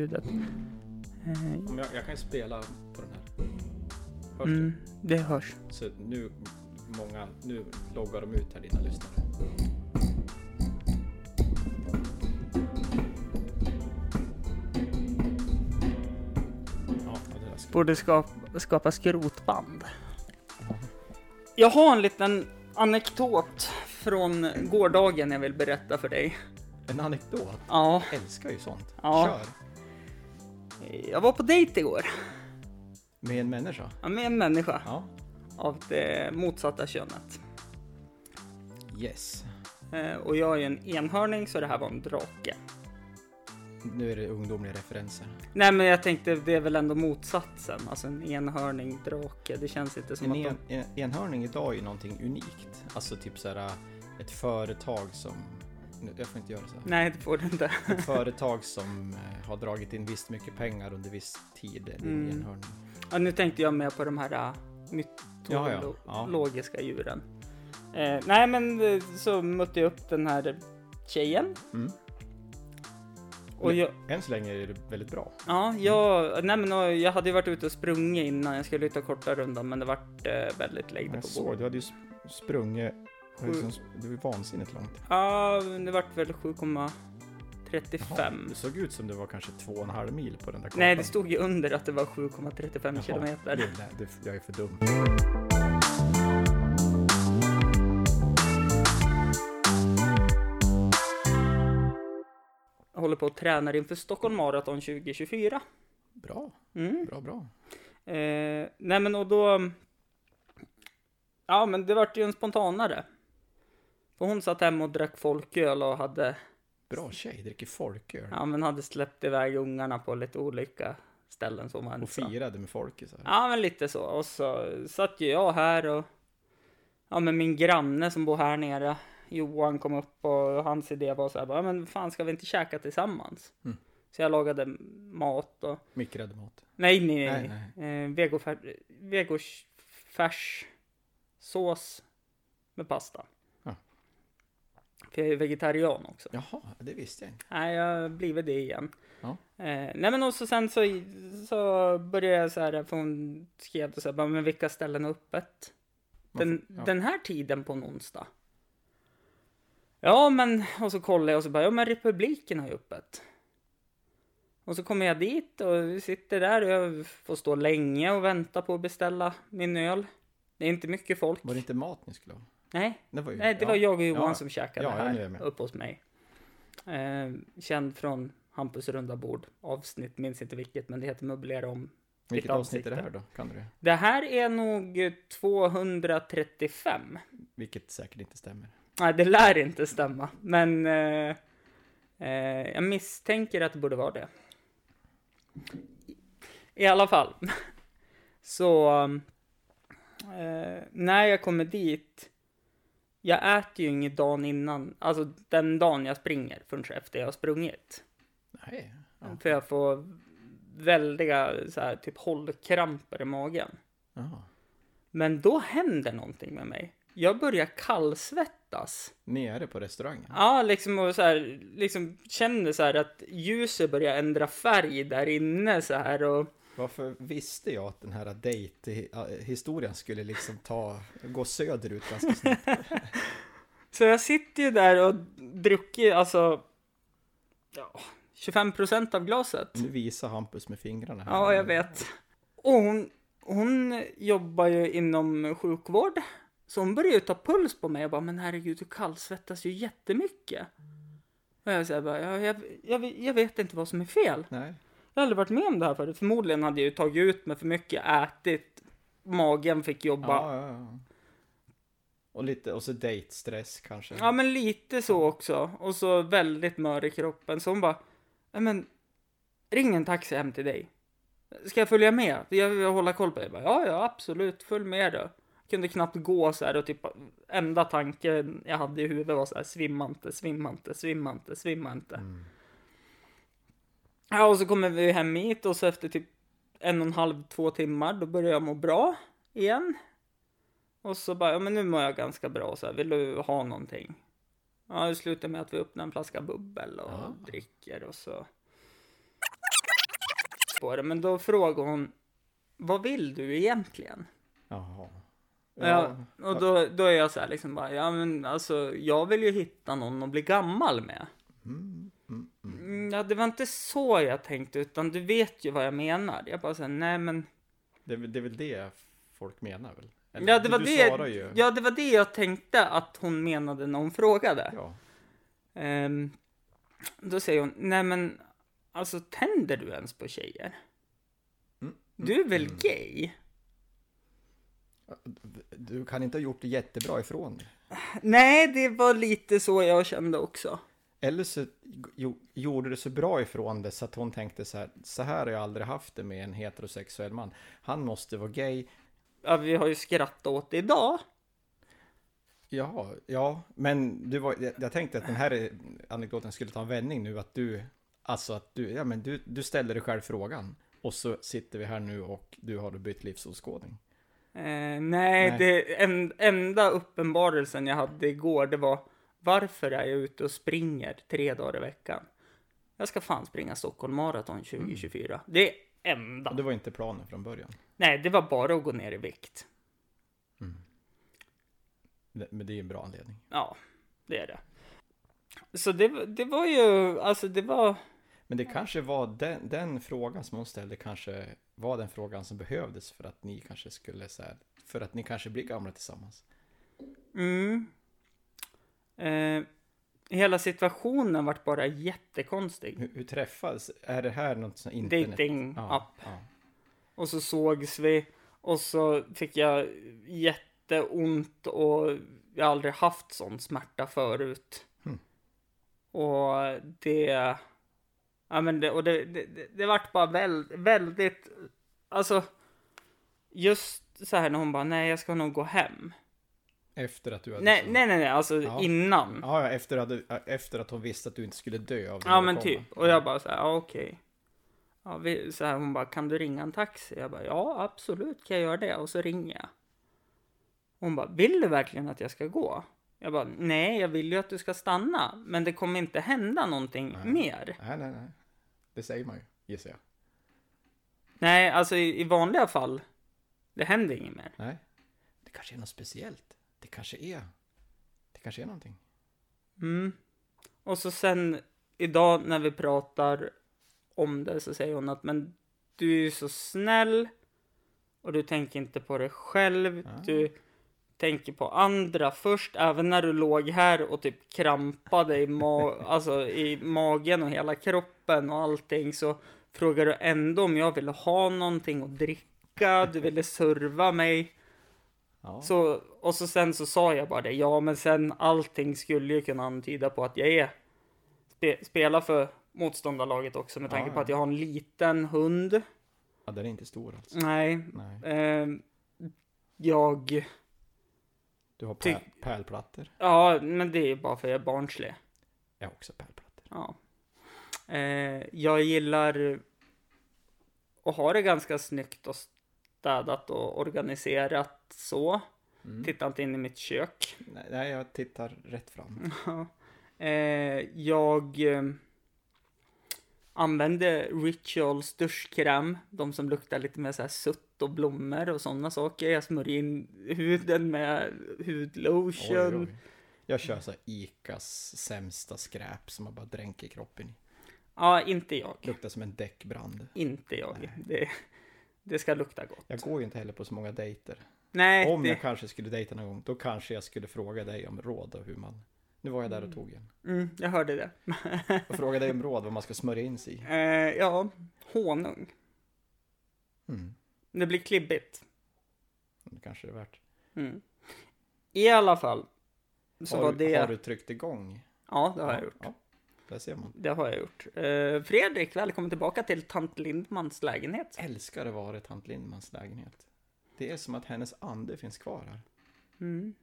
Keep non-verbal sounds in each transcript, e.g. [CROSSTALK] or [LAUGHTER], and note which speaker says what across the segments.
Speaker 1: ljudet. Eh,
Speaker 2: Om jag, jag kan ju spela på den här. Hörs
Speaker 1: Mm, det hörs.
Speaker 2: det? Så nu, många, nu loggar de ut här dina lyssnare. Ja, det där ska...
Speaker 1: Borde skapa, skapa skrotband. Jag har en liten anekdot från gårdagen jag vill berätta för dig.
Speaker 2: En anekdot.
Speaker 1: Ja,
Speaker 2: Älskar ju sånt.
Speaker 1: Ja.
Speaker 2: Kör.
Speaker 1: jag var på dejt igår
Speaker 2: Med en människa.
Speaker 1: Ja, med en människa
Speaker 2: Ja.
Speaker 1: av det motsatta könet.
Speaker 2: Yes.
Speaker 1: Eh, Och jag är ju en enhörning så det här var en drake.
Speaker 2: Nu är det ungdomliga referenser.
Speaker 1: Nej men jag tänkte det är väl ändå motsatsen. Alltså en enhörning, drake. Det känns inte som
Speaker 2: En,
Speaker 1: att de...
Speaker 2: en, en enhörning idag är ju någonting unikt. Alltså typ såhär ett företag som... Nu, jag får inte göra så här.
Speaker 1: Nej det får du inte.
Speaker 2: Ett företag som eh, har dragit in visst mycket pengar under viss tid. Är
Speaker 1: Mm.
Speaker 2: en enhörning.
Speaker 1: Ja, nu tänkte jag mer på de här äh,
Speaker 2: Ja, ja. Ja.
Speaker 1: mytologiska djuren. Eh, nej men eh, så mötte jag upp den här tjejen.
Speaker 2: Mm.
Speaker 1: Och jag,
Speaker 2: Än så länge är det väldigt bra.
Speaker 1: ja, jag, nej men, och jag hade ju varit ute och sprungit innan jag skulle ut och korta rundan men det vart eh, väldigt lägg på
Speaker 2: Jag
Speaker 1: bordet.
Speaker 2: såg, du hade ju sp- sprungit... Det var ju
Speaker 1: Sju.
Speaker 2: som- det var ju vansinnigt långt.
Speaker 1: Ja, det vart väl
Speaker 2: Jaha,
Speaker 1: 7,35.
Speaker 2: Det såg ut som det var kanske två och en halv mil på den där kartan.
Speaker 1: Nej, det stod ju under att det var 7,35
Speaker 2: Jaha,
Speaker 1: kilometer.
Speaker 2: det- Nej, det, jag är för dum.
Speaker 1: Jag håller på och tränar inför Stockholm Marathon 2024.
Speaker 2: Bra,
Speaker 1: Mm.
Speaker 2: bra, bra.
Speaker 1: Eh, nej men och då... Ja men det vart ju en spontanare. För hon satt hemma och drack folköl och hade,
Speaker 2: Bra tjej, dricker folköl.
Speaker 1: ja, men hade släppt iväg ungarna på lite olika ställen som man
Speaker 2: Och firade med folkisar.
Speaker 1: Ja men lite så. Och så satt ju jag här och... Ja men min granne som bor här nere. Johan kom upp och hans idé var så här bara, "Ja, men fan ska vi inte käka tillsammans?
Speaker 2: Mm.
Speaker 1: Så jag lagade mat och...
Speaker 2: Mikrad mat.
Speaker 1: Nej, nej,
Speaker 2: Nej,
Speaker 1: nej. Eh, vegofär- Vegofärssås med pasta.
Speaker 2: Ja.
Speaker 1: För jag är ju vegetarian också.
Speaker 2: Jaha, det visste jag inte.
Speaker 1: Nej, jag har blivit det igen.
Speaker 2: Ja.
Speaker 1: Eh, nej, men också sen så, så började jag så här, eh, för hon skrev så här, bara, men vilka ställen är öppet?
Speaker 2: Man
Speaker 1: Den,
Speaker 2: får- ja.
Speaker 1: den här tiden på en onsdag? Ja, men och så kollade jag och så bara, ja men republiken har ju öppet. Och så kommer jag dit och sitter där och jag får stå länge och vänta på att beställa min öl. Det är inte mycket folk.
Speaker 2: Var det inte mat ni skulle ha?
Speaker 1: Nej,
Speaker 2: Det var ju,
Speaker 1: nej det
Speaker 2: ja.
Speaker 1: var jag och Johan
Speaker 2: Ja.
Speaker 1: som käkade
Speaker 2: Ja, jag är nu
Speaker 1: här
Speaker 2: med.
Speaker 1: uppe hos mig. Eh, känd från Hampus runda bord. Avsnitt, minns inte vilket, men det heter Möblera om.
Speaker 2: Vilket
Speaker 1: ditt
Speaker 2: avsnitt är det
Speaker 1: ansikte.
Speaker 2: här då? Kan du det?
Speaker 1: Det här är nog 235.
Speaker 2: Vilket säkert inte stämmer.
Speaker 1: Nej, det lär inte stämma. Men eh, eh, jag misstänker att det borde vara det. I alla fall. [LAUGHS] Så eh, när jag kommer dit. Jag äter ju inget dagen innan, alltså den dagen jag springer förrän efter jag har sprungit.
Speaker 2: Nej. Ja.
Speaker 1: För jag får väldiga så här, typ hållkramper i magen.
Speaker 2: Jaha.
Speaker 1: Men då händer någonting med mig. Jag börjar kallsvettas.
Speaker 2: Nere på restaurangen?
Speaker 1: Ja, liksom och så här, liksom känner så här att ljuset börjar ändra färg där inne så här och
Speaker 2: Varför visste jag att den här dejthistorien skulle liksom ta, gå söderut ganska
Speaker 1: [LAUGHS]
Speaker 2: snabbt?
Speaker 1: så jag sitter ju där och druckit alltså ja, 25 procent av glaset.
Speaker 2: Nu visar Hampus med fingrarna här.
Speaker 1: Ja, jag vet. Och hon, hon jobbar ju inom sjukvård. Så hon började ju ta puls på mig och bara, men herregud, du kallsvettas ju jättemycket. Och jag säger bara, jag, jag, jag, jag vet inte vad som är fel.
Speaker 2: Nej.
Speaker 1: Jag har aldrig varit med om det här förut. Förmodligen hade jag ju tagit ut mig för mycket, ätit, magen fick jobba. Ja,
Speaker 2: Ja, ja, ja. Och lite, och så dejtstress kanske.
Speaker 1: men lite så också. Och så väldigt mör i kroppen. Så hon bara, "Nej, men ring en taxi hem till dig. Ska jag följa med? Jag vill hålla koll på dig. Jag bara, ja, ja, absolut, följ med då. Kunde knappt gå så här och typ enda tanken jag hade i huvudet var så här svimma inte, svimma inte, svimma inte, svimma inte.
Speaker 2: Mm.
Speaker 1: Ja, och så kommer vi hem hit och så efter typ en och en halv, två timmar, då börjar jag må bra igen. Och så bara, ja men nu mår jag ganska bra så här, vill du ha någonting? Ja, det slutar med att vi öppnar en flaska bubbel och
Speaker 2: Ja.
Speaker 1: dricker och så. på det, men då frågade hon Vad vill du egentligen?
Speaker 2: Jaha.
Speaker 1: Ja, och då, då är jag så här liksom bara, ja men alltså jag vill ju hitta någon att bli gammal med.
Speaker 2: Mm, mm, mm.
Speaker 1: Mm, Ja, det var inte så jag tänkte, utan du vet ju vad jag menar. Jag bara såhär, nej men.
Speaker 2: Det, är väl- det är väl det folk menar väl?
Speaker 1: Ja det, var
Speaker 2: du
Speaker 1: det,
Speaker 2: svarar ju.
Speaker 1: ja, det var det jag tänkte att hon menade när hon frågade.
Speaker 2: Ja.
Speaker 1: Ehm, då säger hon, nej men alltså tänder du ens på tjejer?
Speaker 2: Mm,
Speaker 1: Du är väl gay?
Speaker 2: Du kan inte ha gjort det jättebra ifrån dig.
Speaker 1: Nej, det var lite så jag kände också.
Speaker 2: Eller så jo, gjorde du så bra ifrån det så att hon tänkte så här, så här har jag aldrig haft det med en heterosexuell man. Han måste vara gay.
Speaker 1: Ja, vi har ju skrattat åt det idag.
Speaker 2: Ja, ja, men du var, jag, jag tänkte att den här anekdoten skulle ta en vändning nu, att du, alltså att du, ja men du, du ställer dig själv frågan. Och så sitter vi här nu och du har bytt livsåskådning.
Speaker 1: Eh, nej, det en, enda uppenbarelsen jag hade igår, det var varför är jag ute och springer tre dagar i veckan? Jag ska fan springa Stockholm Marathon
Speaker 2: Mm.
Speaker 1: 2024. Det är enda.
Speaker 2: Och det var inte planen från början.
Speaker 1: Nej, det var bara att gå ner i vikt.
Speaker 2: Det- Men det är en bra anledning.
Speaker 1: Ja, det är det. Så det, var- det var ju, alltså det var,
Speaker 2: Men det kanske var den, den frågan som hon ställde kanske var den frågan som behövdes för att ni kanske skulle så här, för att ni kanske blir gamla tillsammans.
Speaker 1: mm. Eh, hela situationen vart bara jättekonstig.
Speaker 2: Hur, hur träffades? Är det här något som internet?
Speaker 1: Dating app.
Speaker 2: ja.
Speaker 1: Och så sågs vi och så fick jag jätteont och jag har aldrig haft sån smärta förut.
Speaker 2: Hmm.
Speaker 1: Och det... Ja men det, och det, det, det, det vart bara väl, väldigt... Alltså... Just så här när hon bara nej jag ska nog gå hem.
Speaker 2: Efter att du hade...
Speaker 1: Nej nej nej, nej alltså
Speaker 2: Ja.
Speaker 1: innan. Ja,
Speaker 2: Ja, ja, efter att, du- efter att hon visste att du inte skulle dö av din
Speaker 1: men
Speaker 2: åkomma.
Speaker 1: typ. Och jag bara så här ja, okej. Ja, vi, så här, hon bara kan du ringa en taxi? Jag bara ja absolut kan jag göra det och så ringer jag. Hon bara, vill du verkligen att jag ska gå? Jag bara, nej, jag vill ju att du ska stanna, men det kommer inte hända någonting mer.
Speaker 2: Nej, nej, nej. Det säger man ju, gissar jag.
Speaker 1: Nej, alltså i, i vanliga fall, det händer inget mer.
Speaker 2: Nej. Det kanske är något speciellt. Det kanske är... Det kanske är någonting.
Speaker 1: Mm. Och så sen idag när vi pratar om det så säger hon att, men du är ju så snäll och du tänker inte på dig själv. Du tänker på andra först, även när du låg här och typ krampade i, ma- alltså, i magen och hela kroppen och allting så frågar du ändå om jag ville ha någonting att dricka, du ville serva mig.
Speaker 2: Ja.
Speaker 1: Så, och så sen så sa jag bara det, ja men sen allting skulle ju kunna antyda på att jag är spe, spelar för motståndarlaget också med tanke
Speaker 2: Ja,
Speaker 1: på
Speaker 2: ja.
Speaker 1: att jag har en liten hund.
Speaker 2: Ja, den är inte stor alltså.
Speaker 1: Nej,
Speaker 2: Nej.
Speaker 1: ehm, jag...
Speaker 2: Du har
Speaker 1: Ty-
Speaker 2: pär, pärlplattor.
Speaker 1: Ja, men det är ju bara för att jag är barnslig.
Speaker 2: Jag har också pärlplattor.
Speaker 1: Ja. Eh, jag gillar att ha det ganska snyggt och städat och organiserat så.
Speaker 2: Mm.
Speaker 1: Titta inte in i mitt kök.
Speaker 2: Nej, nej, jag tittar rätt fram.
Speaker 1: Ja. Eh, jag eh, använde Rituals duschkräm, de som luktar lite mer så här sutt och blommor och sådana saker. Jag smörjer in huden med
Speaker 2: Oj, oj,
Speaker 1: hudlotion.
Speaker 2: oj. Jag kör så här Icas sämsta skräp som man bara dränker kroppen i.
Speaker 1: Ja, inte jag.
Speaker 2: Luktar som en däckbrand.
Speaker 1: Inte jag. Det, det ska lukta gott.
Speaker 2: Jag går ju inte heller på så många dejter.
Speaker 1: Nej,
Speaker 2: Om jag
Speaker 1: det,
Speaker 2: kanske skulle dejta någon gång, då kanske jag skulle fråga dig om råd och hur man... Nu var jag där och tog en.
Speaker 1: mm, jag hörde det.
Speaker 2: Och fråga dig om råd vad man ska smörja in sig i.
Speaker 1: Eh, ja, honung.
Speaker 2: Mm.
Speaker 1: Det blir klibbigt.
Speaker 2: Det kanske det är värt.
Speaker 1: Mm. I alla fall. Så
Speaker 2: Har,
Speaker 1: var
Speaker 2: du,
Speaker 1: det...
Speaker 2: har du tryckt igång?
Speaker 1: Ja, det har jag gjort.
Speaker 2: Ja, där ser man.
Speaker 1: Det har jag gjort. Eh, Fredrik, välkommen tillbaka till tant Lindmans lägenhet.
Speaker 2: Älskar det vara tant Lindmans lägenhet. Det är som att hennes ande finns kvar här.
Speaker 1: Mm.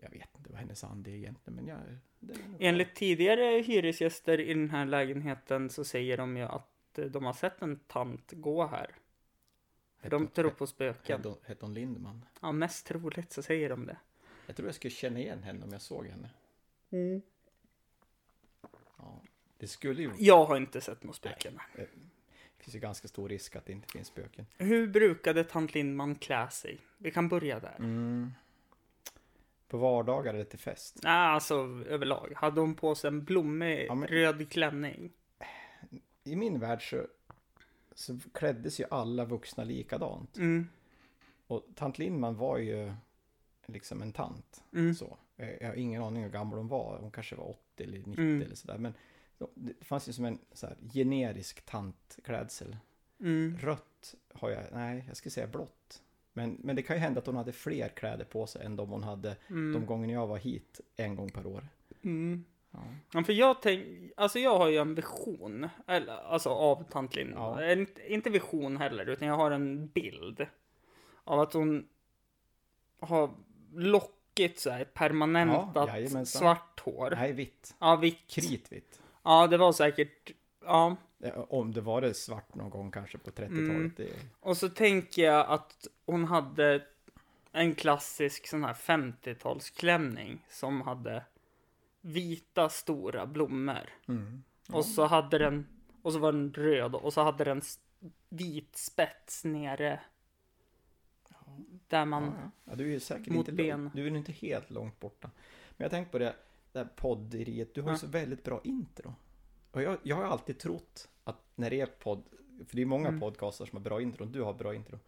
Speaker 2: Jag vet inte vad hennes ande är egentligen, men jag... Det är nog-
Speaker 1: Enligt tidigare hyresgäster i den här lägenheten så säger de ju att eh, de har sett en tant gå här. För de tror på spöken.
Speaker 2: Hette hon- hette hon Lindman?
Speaker 1: Ja, mest troligt så säger de det.
Speaker 2: Jag tror jag skulle känna igen henne om jag såg henne. Mm. Det skulle ju...
Speaker 1: Jag har inte sett något spöken.
Speaker 2: Det finns ju ganska stor risk att det inte finns spöken.
Speaker 1: Hur brukade tant Lindman klä sig? Vi kan börja där.
Speaker 2: Mm. På vardagar eller till fest?
Speaker 1: Nej, alltså överlag. Hade hon på sig en blommig
Speaker 2: Ja, men-
Speaker 1: röd klänning?
Speaker 2: I min värld så, så kläddes ju alla vuxna likadant.
Speaker 1: Mm,
Speaker 2: Och tant Lindman var ju liksom en tant.
Speaker 1: mm,
Speaker 2: Så. Eh, Jag har ingen aning hur gammal hon var. Hon kanske var 80 eller 90
Speaker 1: Mm.
Speaker 2: eller sådär. Men det fanns ju som en så här, generisk tantklädsel.
Speaker 1: mm.
Speaker 2: Rött har jag, nej jag skulle säga blått. Men, men det kan ju hända att hon hade fler kläder på sig än de hon hade de gångerna jag var hit en gång per år.
Speaker 1: Mm.
Speaker 2: Ja.
Speaker 1: Ja, för jag tänk, alltså jag har ju en vision, eller, alltså av tant Lindman.
Speaker 2: Ja.
Speaker 1: En, inte vision heller, utan jag har en bild av att hon har lockigt så här
Speaker 2: Ja,
Speaker 1: permanentat
Speaker 2: jajamensan.
Speaker 1: svart hår.
Speaker 2: Nej, vitt.
Speaker 1: Ja, vitt.
Speaker 2: Kritvitt.
Speaker 1: Ja, det var säkert, ja.
Speaker 2: Eh, Om det var det svart någon gång kanske på 30-talet.
Speaker 1: Mm.
Speaker 2: Det,
Speaker 1: Och så tänker jag att hon hade en klassisk sån här 50-talsklänning som hade vita stora blommor.
Speaker 2: mm.
Speaker 1: Och så hade den, och så var den röd och så hade den s- vit spets nere. Där man,
Speaker 2: ja, ja, du är ju säkert
Speaker 1: Mot
Speaker 2: inte, lång-
Speaker 1: ben.
Speaker 2: du är ju inte helt långt borta. Men jag tänkte på det, det här podderiet. Du har ju
Speaker 1: Ja.
Speaker 2: så väldigt bra intro. Och jag, jag har ju alltid trott att när det är podd, för det är många
Speaker 1: Mm. podcaster
Speaker 2: podcaster som har bra intro, du har bra intro.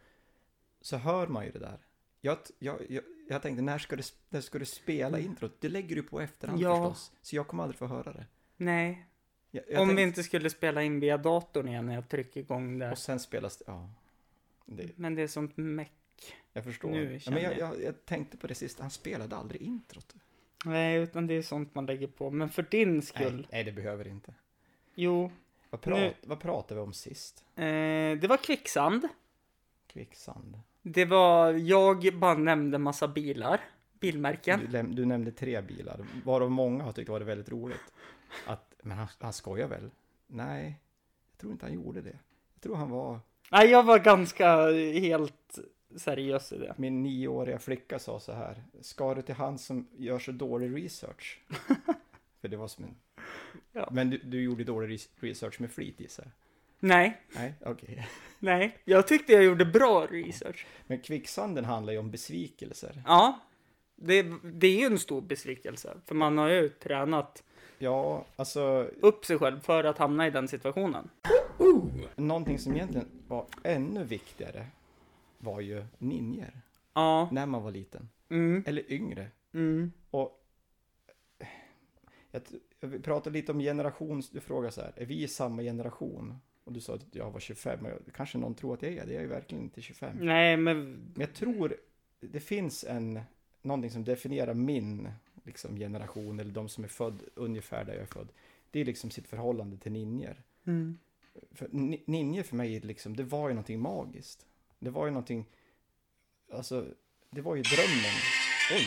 Speaker 2: Så hör man ju det där. Jag, t- jag, jag, jag tänkte, när ska, du, sp- när ska du spela introt? Det lägger du på efterhand
Speaker 1: Mm. Ja.
Speaker 2: förstås. Så jag kommer aldrig få höra det.
Speaker 1: nej.
Speaker 2: Jag, jag
Speaker 1: om
Speaker 2: tänkte-
Speaker 1: vi inte skulle spela in via datorn igen när jag trycker igång det.
Speaker 2: Och sen spelas det, ja. Det,
Speaker 1: Men det är sånt meck.
Speaker 2: jag förstår.
Speaker 1: Nu
Speaker 2: ja, men
Speaker 1: känner
Speaker 2: jag, jag, jag tänkte på det sist, han spelade aldrig introt.
Speaker 1: Nej, utan det är sånt man lägger på. Men för din skull.
Speaker 2: Nej, nej, det behöver inte.
Speaker 1: Jo,
Speaker 2: Vad, prat,
Speaker 1: Nu-
Speaker 2: vad pratade vi om sist?
Speaker 1: eh, det var kvicksand.
Speaker 2: Kvicksand.
Speaker 1: Det var, jag bara nämnde massa bilar. Bilmärken.
Speaker 2: Du, läm- du nämnde tre bilar, varav många har tyckt det var väldigt roligt. Att, men han, han skojar väl? Nej, jag tror inte han gjorde det. Jag tror han var...
Speaker 1: Nej, jag var ganska helt seriös i det.
Speaker 2: Min nioåriga flicka sa så här. Ska det till han som gör så
Speaker 1: [LAUGHS]
Speaker 2: dålig research? För det var som en...
Speaker 1: Ja.
Speaker 2: Men du, du gjorde dålig res- research med flit gissar jag?
Speaker 1: Nej,
Speaker 2: Nej, okej.
Speaker 1: nej. Jag tyckte jag gjorde bra research.
Speaker 2: Men kvicksanden handlar ju om besvikelser.
Speaker 1: Ja, det, det är ju en stor besvikelse. För man har ju tränat
Speaker 2: Ja, alltså
Speaker 1: upp sig själv för att hamna i den situationen.
Speaker 2: Någonting som egentligen var ännu viktigare var ju ninjer
Speaker 1: Ja,
Speaker 2: när man var liten.
Speaker 1: mm,
Speaker 2: Eller yngre.
Speaker 1: mm,
Speaker 2: Och jag, tr- vi pratade lite om generations... Du frågade så här, är vi i samma generation? Och du sa att jag var 25, och jag- kanske någon tror att jag är det. Jag är ju verkligen inte 25.
Speaker 1: nej men
Speaker 2: Men jag tror det finns en... Någonting som definierar min liksom, generation, eller de som är född ungefär där jag är född. Det är liksom sitt förhållande till ninjer.
Speaker 1: mm,
Speaker 2: För ni- ninje för mig, är liksom, det var ju någonting magiskt. Det var ju någonting, alltså, det var ju drömmen. Oj!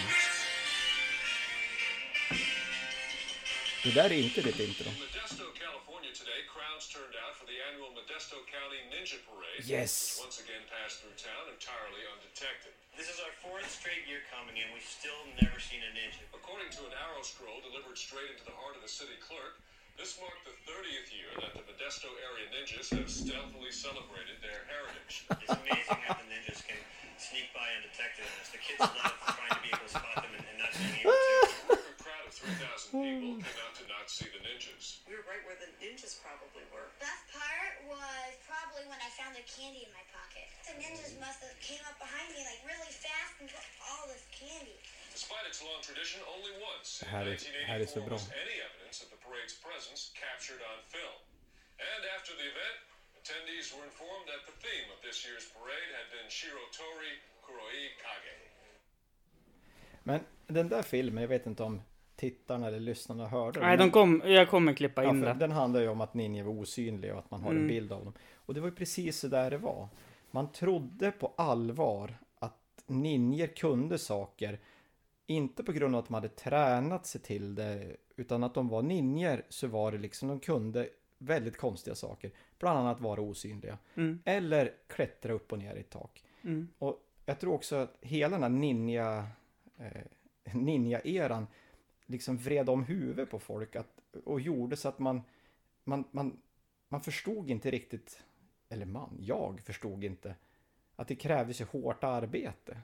Speaker 2: Det där är inte ditt intro.
Speaker 3: Modesto, California today, crowds turned out for the annual Modesto County Ninja Parade.
Speaker 2: Yes.
Speaker 3: Which once again passed through town entirely undetected.
Speaker 4: This is our fourth straight year coming in. We've still never seen a ninja.
Speaker 3: According to an arrow scroll delivered straight into the heart of the city clerk, this marked the 30th year that the Modesto area ninjas have stealthily celebrated their heritage.
Speaker 4: It's amazing how the ninjas can sneak by undetected on us. The kids love trying to be able to spot them and, and not being able to.
Speaker 3: A crowd of 3,000 people came out to not see the ninjas.
Speaker 5: We were right where the ninjas probably were.
Speaker 6: Best part was probably when I found the candy in my pocket. The ninjas must have came up behind me like really fast and took all this candy.
Speaker 3: Despite its long tradition, only once in
Speaker 2: Här är- här är så
Speaker 3: 1984
Speaker 2: bra.
Speaker 3: was any evidence of the parade's presence captured on film. And after the event, attendees were informed that the theme of this year's parade had been Shirotori Kuroi Kage.
Speaker 2: Men den där filmen, jag vet inte om tittarna eller lyssnarna hörde.
Speaker 1: nej, de
Speaker 2: men-
Speaker 1: kom, jag kommer klippa
Speaker 2: Ja,
Speaker 1: in
Speaker 2: för
Speaker 1: det.
Speaker 2: den handlar ju om att ninjor var osynliga och att man har en bild av dem. Och det var ju precis så där det var. Man trodde på allvar att ninjor kunde saker. Inte på grund av att de hade tränat sig till det, utan att de var ninjor så var det liksom de kunde väldigt konstiga saker. Bland annat vara osynliga. Eller klättra upp och ner i ett tak. Och jag tror också att hela den här ninja, eh, ninja-eran liksom vred om huvudet på folk att, och gjorde så att man, man, man, man förstod inte riktigt eller man, jag förstod inte att det krävdes ju hårt arbete.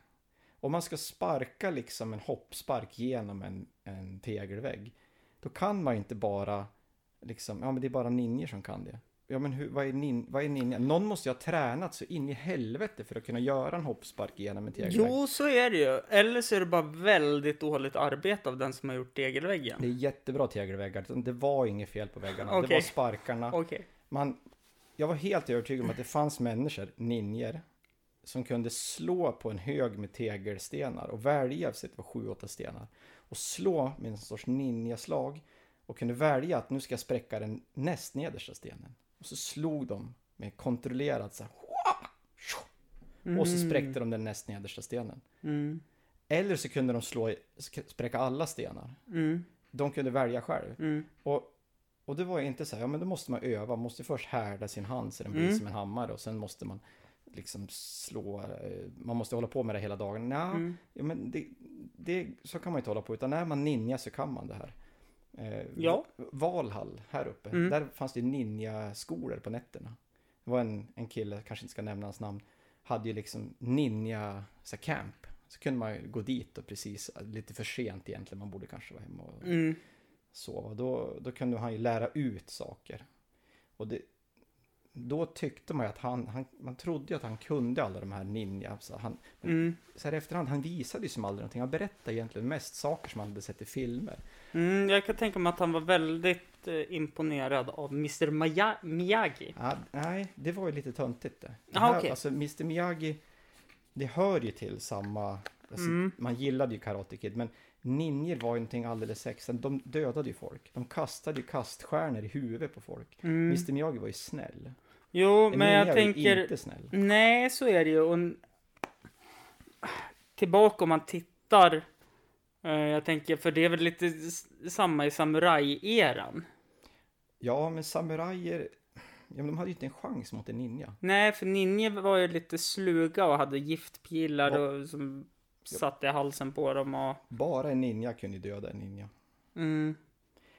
Speaker 2: Om man ska sparka liksom en hoppspark genom en, en tegelvägg, då kan man ju inte bara liksom, ja men det är bara ninjor som kan det. Ja men hur, vad, är nin, vad är ninja? Någon måste ju ha tränat så in i helvete för att kunna göra en hoppspark genom en tegelvägg.
Speaker 1: Jo, så är det ju. Eller så är det bara väldigt dåligt arbete av den som har gjort
Speaker 2: Det
Speaker 1: tegelväggen.
Speaker 2: är jättebra tegelväggar, det var inget fel på väggarna, det var
Speaker 1: Okej.
Speaker 2: sparkarna.
Speaker 1: Okej.
Speaker 2: Man, jag var helt övertygad om att det fanns människor, ninjer, som kunde slå på en hög med tegelstenar och välja, så det var sju, åtta stenar, och slå med en sorts ninjaslag och kunde välja att nu ska jag spräcka den näst nedersta stenen. Och så slog de med kontrollerat så här, "Hua!" Tjo! och så spräckte de den näst nedersta stenen.
Speaker 1: Mm.
Speaker 2: Eller så kunde de slå, i- sk- spräcka alla stenar.
Speaker 1: Mm.
Speaker 2: De kunde välja själv.
Speaker 1: Mm.
Speaker 2: Och, och det var ju inte så här, ja men då måste man öva, man måste först härda sin hand så den blir
Speaker 1: Mm.
Speaker 2: som en hammare och sen måste man liksom slå, eh, man måste hålla på med det hela dagen. Nja,
Speaker 1: Mm.
Speaker 2: ja, men det, det, så kan man ju inte hålla på utan när man ninja så kan man det här. Eh,
Speaker 1: Ja. Mm.
Speaker 2: Valhall här uppe, där fanns det ju ninjaskolor på nätterna. Det var en, en kille, kanske inte ska nämna hans namn, hade ju liksom ninja så här, camp. Så kunde man ju gå dit och precis lite för sent egentligen, man borde kanske vara hemma och
Speaker 1: Mm.
Speaker 2: sova. Då, då kunde han ju lära ut saker. Och det, då tyckte man ju att han, han, man trodde ju att han kunde alla de här ninja. Så, han, men
Speaker 1: Mm.
Speaker 2: så här i efterhand, han visade ju som aldrig någonting. Han berättade egentligen mest saker som han hade sett i filmer.
Speaker 1: Mm. Jag kan tänka mig att han var väldigt eh, imponerad av Mr. Maya- Miyagi.
Speaker 2: Ja, nej, det var ju lite töntigt det. det
Speaker 1: Aha,
Speaker 2: här,
Speaker 1: okej.
Speaker 2: Alltså Mr Miyagi, det hör ju till samma... Alltså,
Speaker 1: Mm.
Speaker 2: Man gillade ju Karate Kid, men ninjor var ju någonting alldeles extra. De dödade ju folk. De kastade ju kaststjärnor i huvudet på folk.
Speaker 1: Mm.
Speaker 2: Mr Miyagi var ju snäll.
Speaker 1: Jo,
Speaker 2: En
Speaker 1: men jag
Speaker 2: ninja är ju
Speaker 1: tänker...
Speaker 2: inte snäll.
Speaker 1: Nej, så är det ju. Och... Tillbaka om man tittar. eh, Jag tänker, för det är väl lite s- samma i samurajeran.
Speaker 2: Ja, men samurajer, ja, men de hade ju inte en chans mot en ninja.
Speaker 1: Nej, för ninjor var ju lite sluga och hade giftpilar
Speaker 2: Ja.
Speaker 1: och, som satte i halsen på dem och...
Speaker 2: Bara en ninja kunde ju döda en ninja.
Speaker 1: Mm,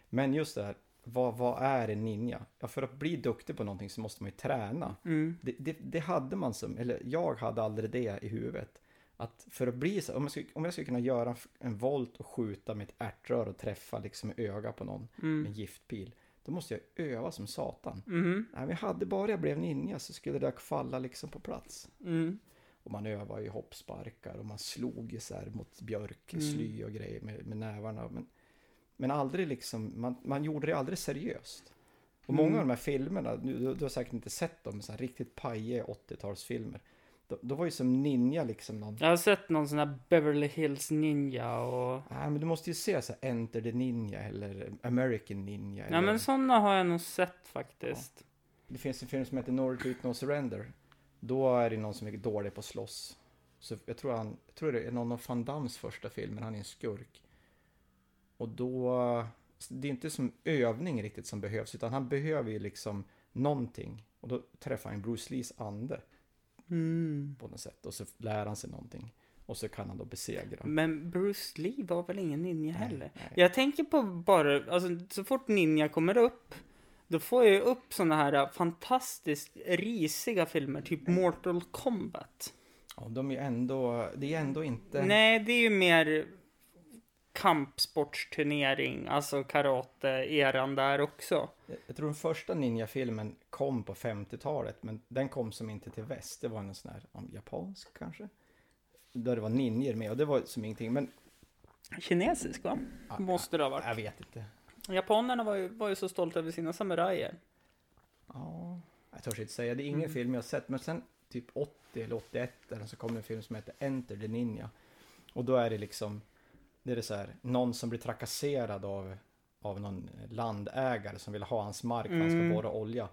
Speaker 2: Men just det här, vad, vad är en ninja? Ja, för att bli duktig på någonting så måste man ju träna.
Speaker 1: mm,
Speaker 2: Det, det, det hade man som, eller jag hade aldrig det i huvudet. Att för att bli så, om jag skulle, om jag skulle kunna göra en, f- en volt och skjuta med ett ärtrör och träffa liksom i öga på någon med en giftpil. Då måste jag öva som satan.
Speaker 1: mm,
Speaker 2: Nej, men jag hade bara jag blev ninja så skulle det där falla liksom på plats.
Speaker 1: mm.
Speaker 2: Och man övade ju hoppsparkar och man slog ju så här mot björk,
Speaker 1: Mm.
Speaker 2: sly och grejer med, med nävarna. Men, men aldrig liksom, man, man gjorde det aldrig seriöst. Och
Speaker 1: Mm.
Speaker 2: många av de här filmerna, nu, du, du har säkert inte sett dem, så här riktigt pajiga 80-talsfilmer. Då, då var ju som ninja liksom någon,
Speaker 1: Jag har sett någon sån här Beverly Hills Ninja och...
Speaker 2: nej men du måste ju se så här Enter the Ninja eller American Ninja.
Speaker 1: Nej
Speaker 2: eller,
Speaker 1: men såna har jag nog sett faktiskt.
Speaker 2: Det finns en film som heter No Retreat No Surrender. Då är det någon som är dålig på att slåss. Så jag tror, han, jag tror det är någon av Van Dams första filmer, han är en skurk. Och då, det är inte som övning riktigt som behövs, utan han behöver ju liksom någonting. Och då träffar han Bruce Lees ande
Speaker 1: Mm.
Speaker 2: på något sätt och så lär han sig någonting. Och så kan han då besegra.
Speaker 1: Men Bruce Lee var väl ingen ninja heller?
Speaker 2: nej.
Speaker 1: Jag tänker på bara, alltså så fort ninja kommer upp, då får jag ju upp såna här äh, fantastiskt risiga filmer, typ Mortal Kombat.
Speaker 2: Ja, de är ju ändå, det är ändå inte...
Speaker 1: Nej, det är ju mer kampsportsturnering, alltså karate-eran där också.
Speaker 2: Jag tror den första ninjafilmen kom på 50-talet, men den kom som inte till väst. Det var en sån här, om japansk kanske? Där det var ninjor med och det var som ingenting, men
Speaker 1: Kinesisk va? Måste det ha varit.
Speaker 2: jag vet inte.
Speaker 1: Japanerna var ju, var ju så stolta över sina samurajer.
Speaker 2: Ja, jag törs inte säga. Det är ingen film jag har sett, men sen typ 80 eller 81 eller så kom en film som heter Enter the Ninja. Och då är det liksom, det är det så här, någon som blir trakasserad av, av någon landägare som vill ha hans mark för han ska borra olja.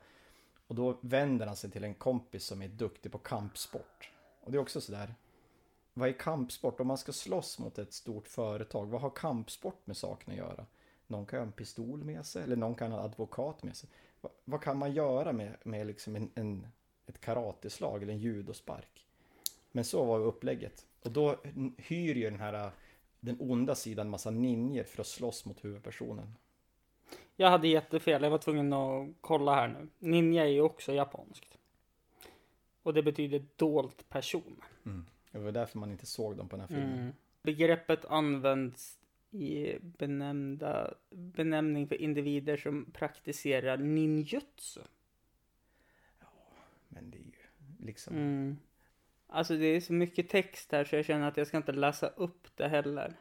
Speaker 2: Och då vänder han sig till en kompis som är duktig på kampsport. Och det är också sådär, vad är kampsport? Om man ska slåss mot ett stort företag, vad har kampsport med saken att göra? Någon kan ha en pistol med sig eller någon kan ha en advokat med sig. Va, vad kan man göra med, med liksom en, en, ett karateslag eller en judospark? Men så var upplägget. Och då n- hyr ju den här den onda sidan massa ninjor för att slåss mot huvudpersonen.
Speaker 1: Jag hade jättefel, jag var tvungen att kolla här nu. Ninja är ju också japanskt. Och det betyder dold person.
Speaker 2: Det var därför man inte såg dem på den här filmen.
Speaker 1: Begreppet används i benämnda, benämning för individer som praktiserar ninjutsu.
Speaker 2: Men det är ju liksom...
Speaker 1: Mm. Alltså det är så mycket text här så jag känner att jag ska inte läsa upp det heller.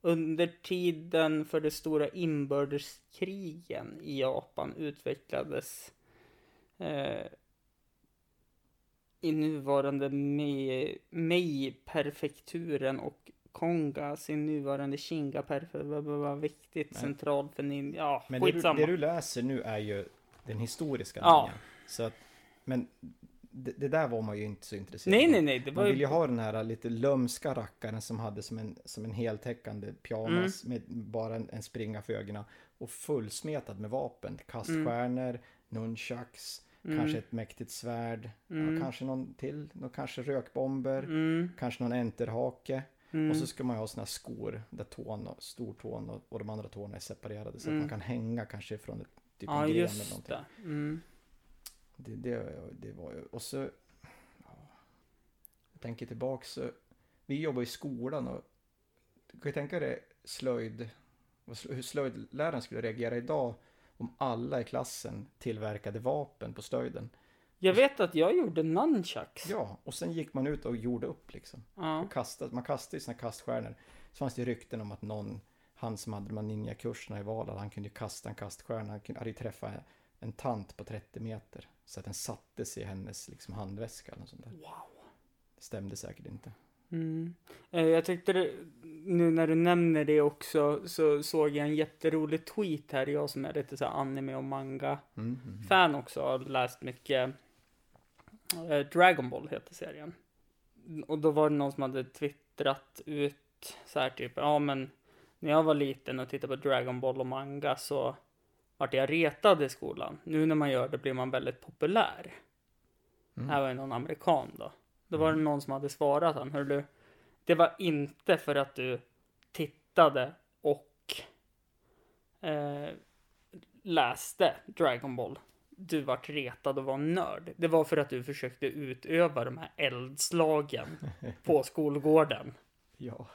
Speaker 1: Under tiden för de stora inbördeskrigen i Japan utvecklades eh, i nuvarande Mei- Mei-prefekturen och Konga sin nuvarande Shinga-prefektur. Vad viktigt central för ninja. Ja,
Speaker 2: Men det du,
Speaker 1: skitsamma.
Speaker 2: det du läser nu är ju den historiska
Speaker 1: Ja.
Speaker 2: linjen. Så att, men det, det där var man ju inte så intresserad
Speaker 1: Nej,
Speaker 2: av.
Speaker 1: nej, nej. Det var
Speaker 2: Man vill ju
Speaker 1: ju...
Speaker 2: ha den här lite lömska rackaren som hade som en, som en heltäckande pyjamas
Speaker 1: Mm.
Speaker 2: med bara en, en springa för ögonen och fullsmetad med vapen.
Speaker 1: Mm.
Speaker 2: Kaststjärnor, nunchucks, kanske ett mäktigt svärd,
Speaker 1: Mm.
Speaker 2: ja, kanske någon till, någon, kanske rökbomber, kanske någon enterhake.
Speaker 1: Mm.
Speaker 2: Och så ska man ju ha såna här skor där tån, och- stortån och, och de andra tårna är separerade så att man kan hänga kanske från ett, typ en
Speaker 1: Mm. Ja,
Speaker 2: gren eller
Speaker 1: just
Speaker 2: någonting.
Speaker 1: det. Mm.
Speaker 2: Det, det, det var ju, och så... Ja, jag tänker tillbaks så... Vi jobbar i skolan och... Du kan ju tänka dig slöjd... vad slö- Hur slöjdläraren skulle reagera idag om alla i klassen tillverkade vapen på slöjden.
Speaker 1: Jag vet att jag gjorde nunchucks.
Speaker 2: Ja, och sen gick man ut och gjorde upp liksom.
Speaker 1: Ja.
Speaker 2: Och kastade, man kastade ju sina kaststjärnor. Så fanns det rykten om att någon, han som hade de här ninjakurserna i Valhall, han kunde ju kasta en kaststjärna. Han kunde, hade ju träffat en tant på 30 meter. Så att den sattes i hennes liksom, handväska eller något sånt där.
Speaker 1: Wow.
Speaker 2: Det stämde säkert inte.
Speaker 1: Mm. Eh, Jag tyckte det, nu när du nämner det också så såg jag en jätterolig tweet här. Jag som är lite så här anime och manga fan också har läst mycket eh, Dragon Ball heter serien. Och då var det någon som hade twittrat ut så här typ ja men när jag var liten och tittade på Dragon Ball och manga så vart jag retad i skolan. Nu när man gör det blir man väldigt populär. Det här var ju någon amerikan då. Då var det någon som hade svarat han, hör du, det var inte för att du tittade och eh, läste Dragon Ball. Du vart retad och var nörd. Det var för att du försökte utöva de här
Speaker 2: [LAUGHS]
Speaker 1: eldslagen på skolgården.
Speaker 2: Ja.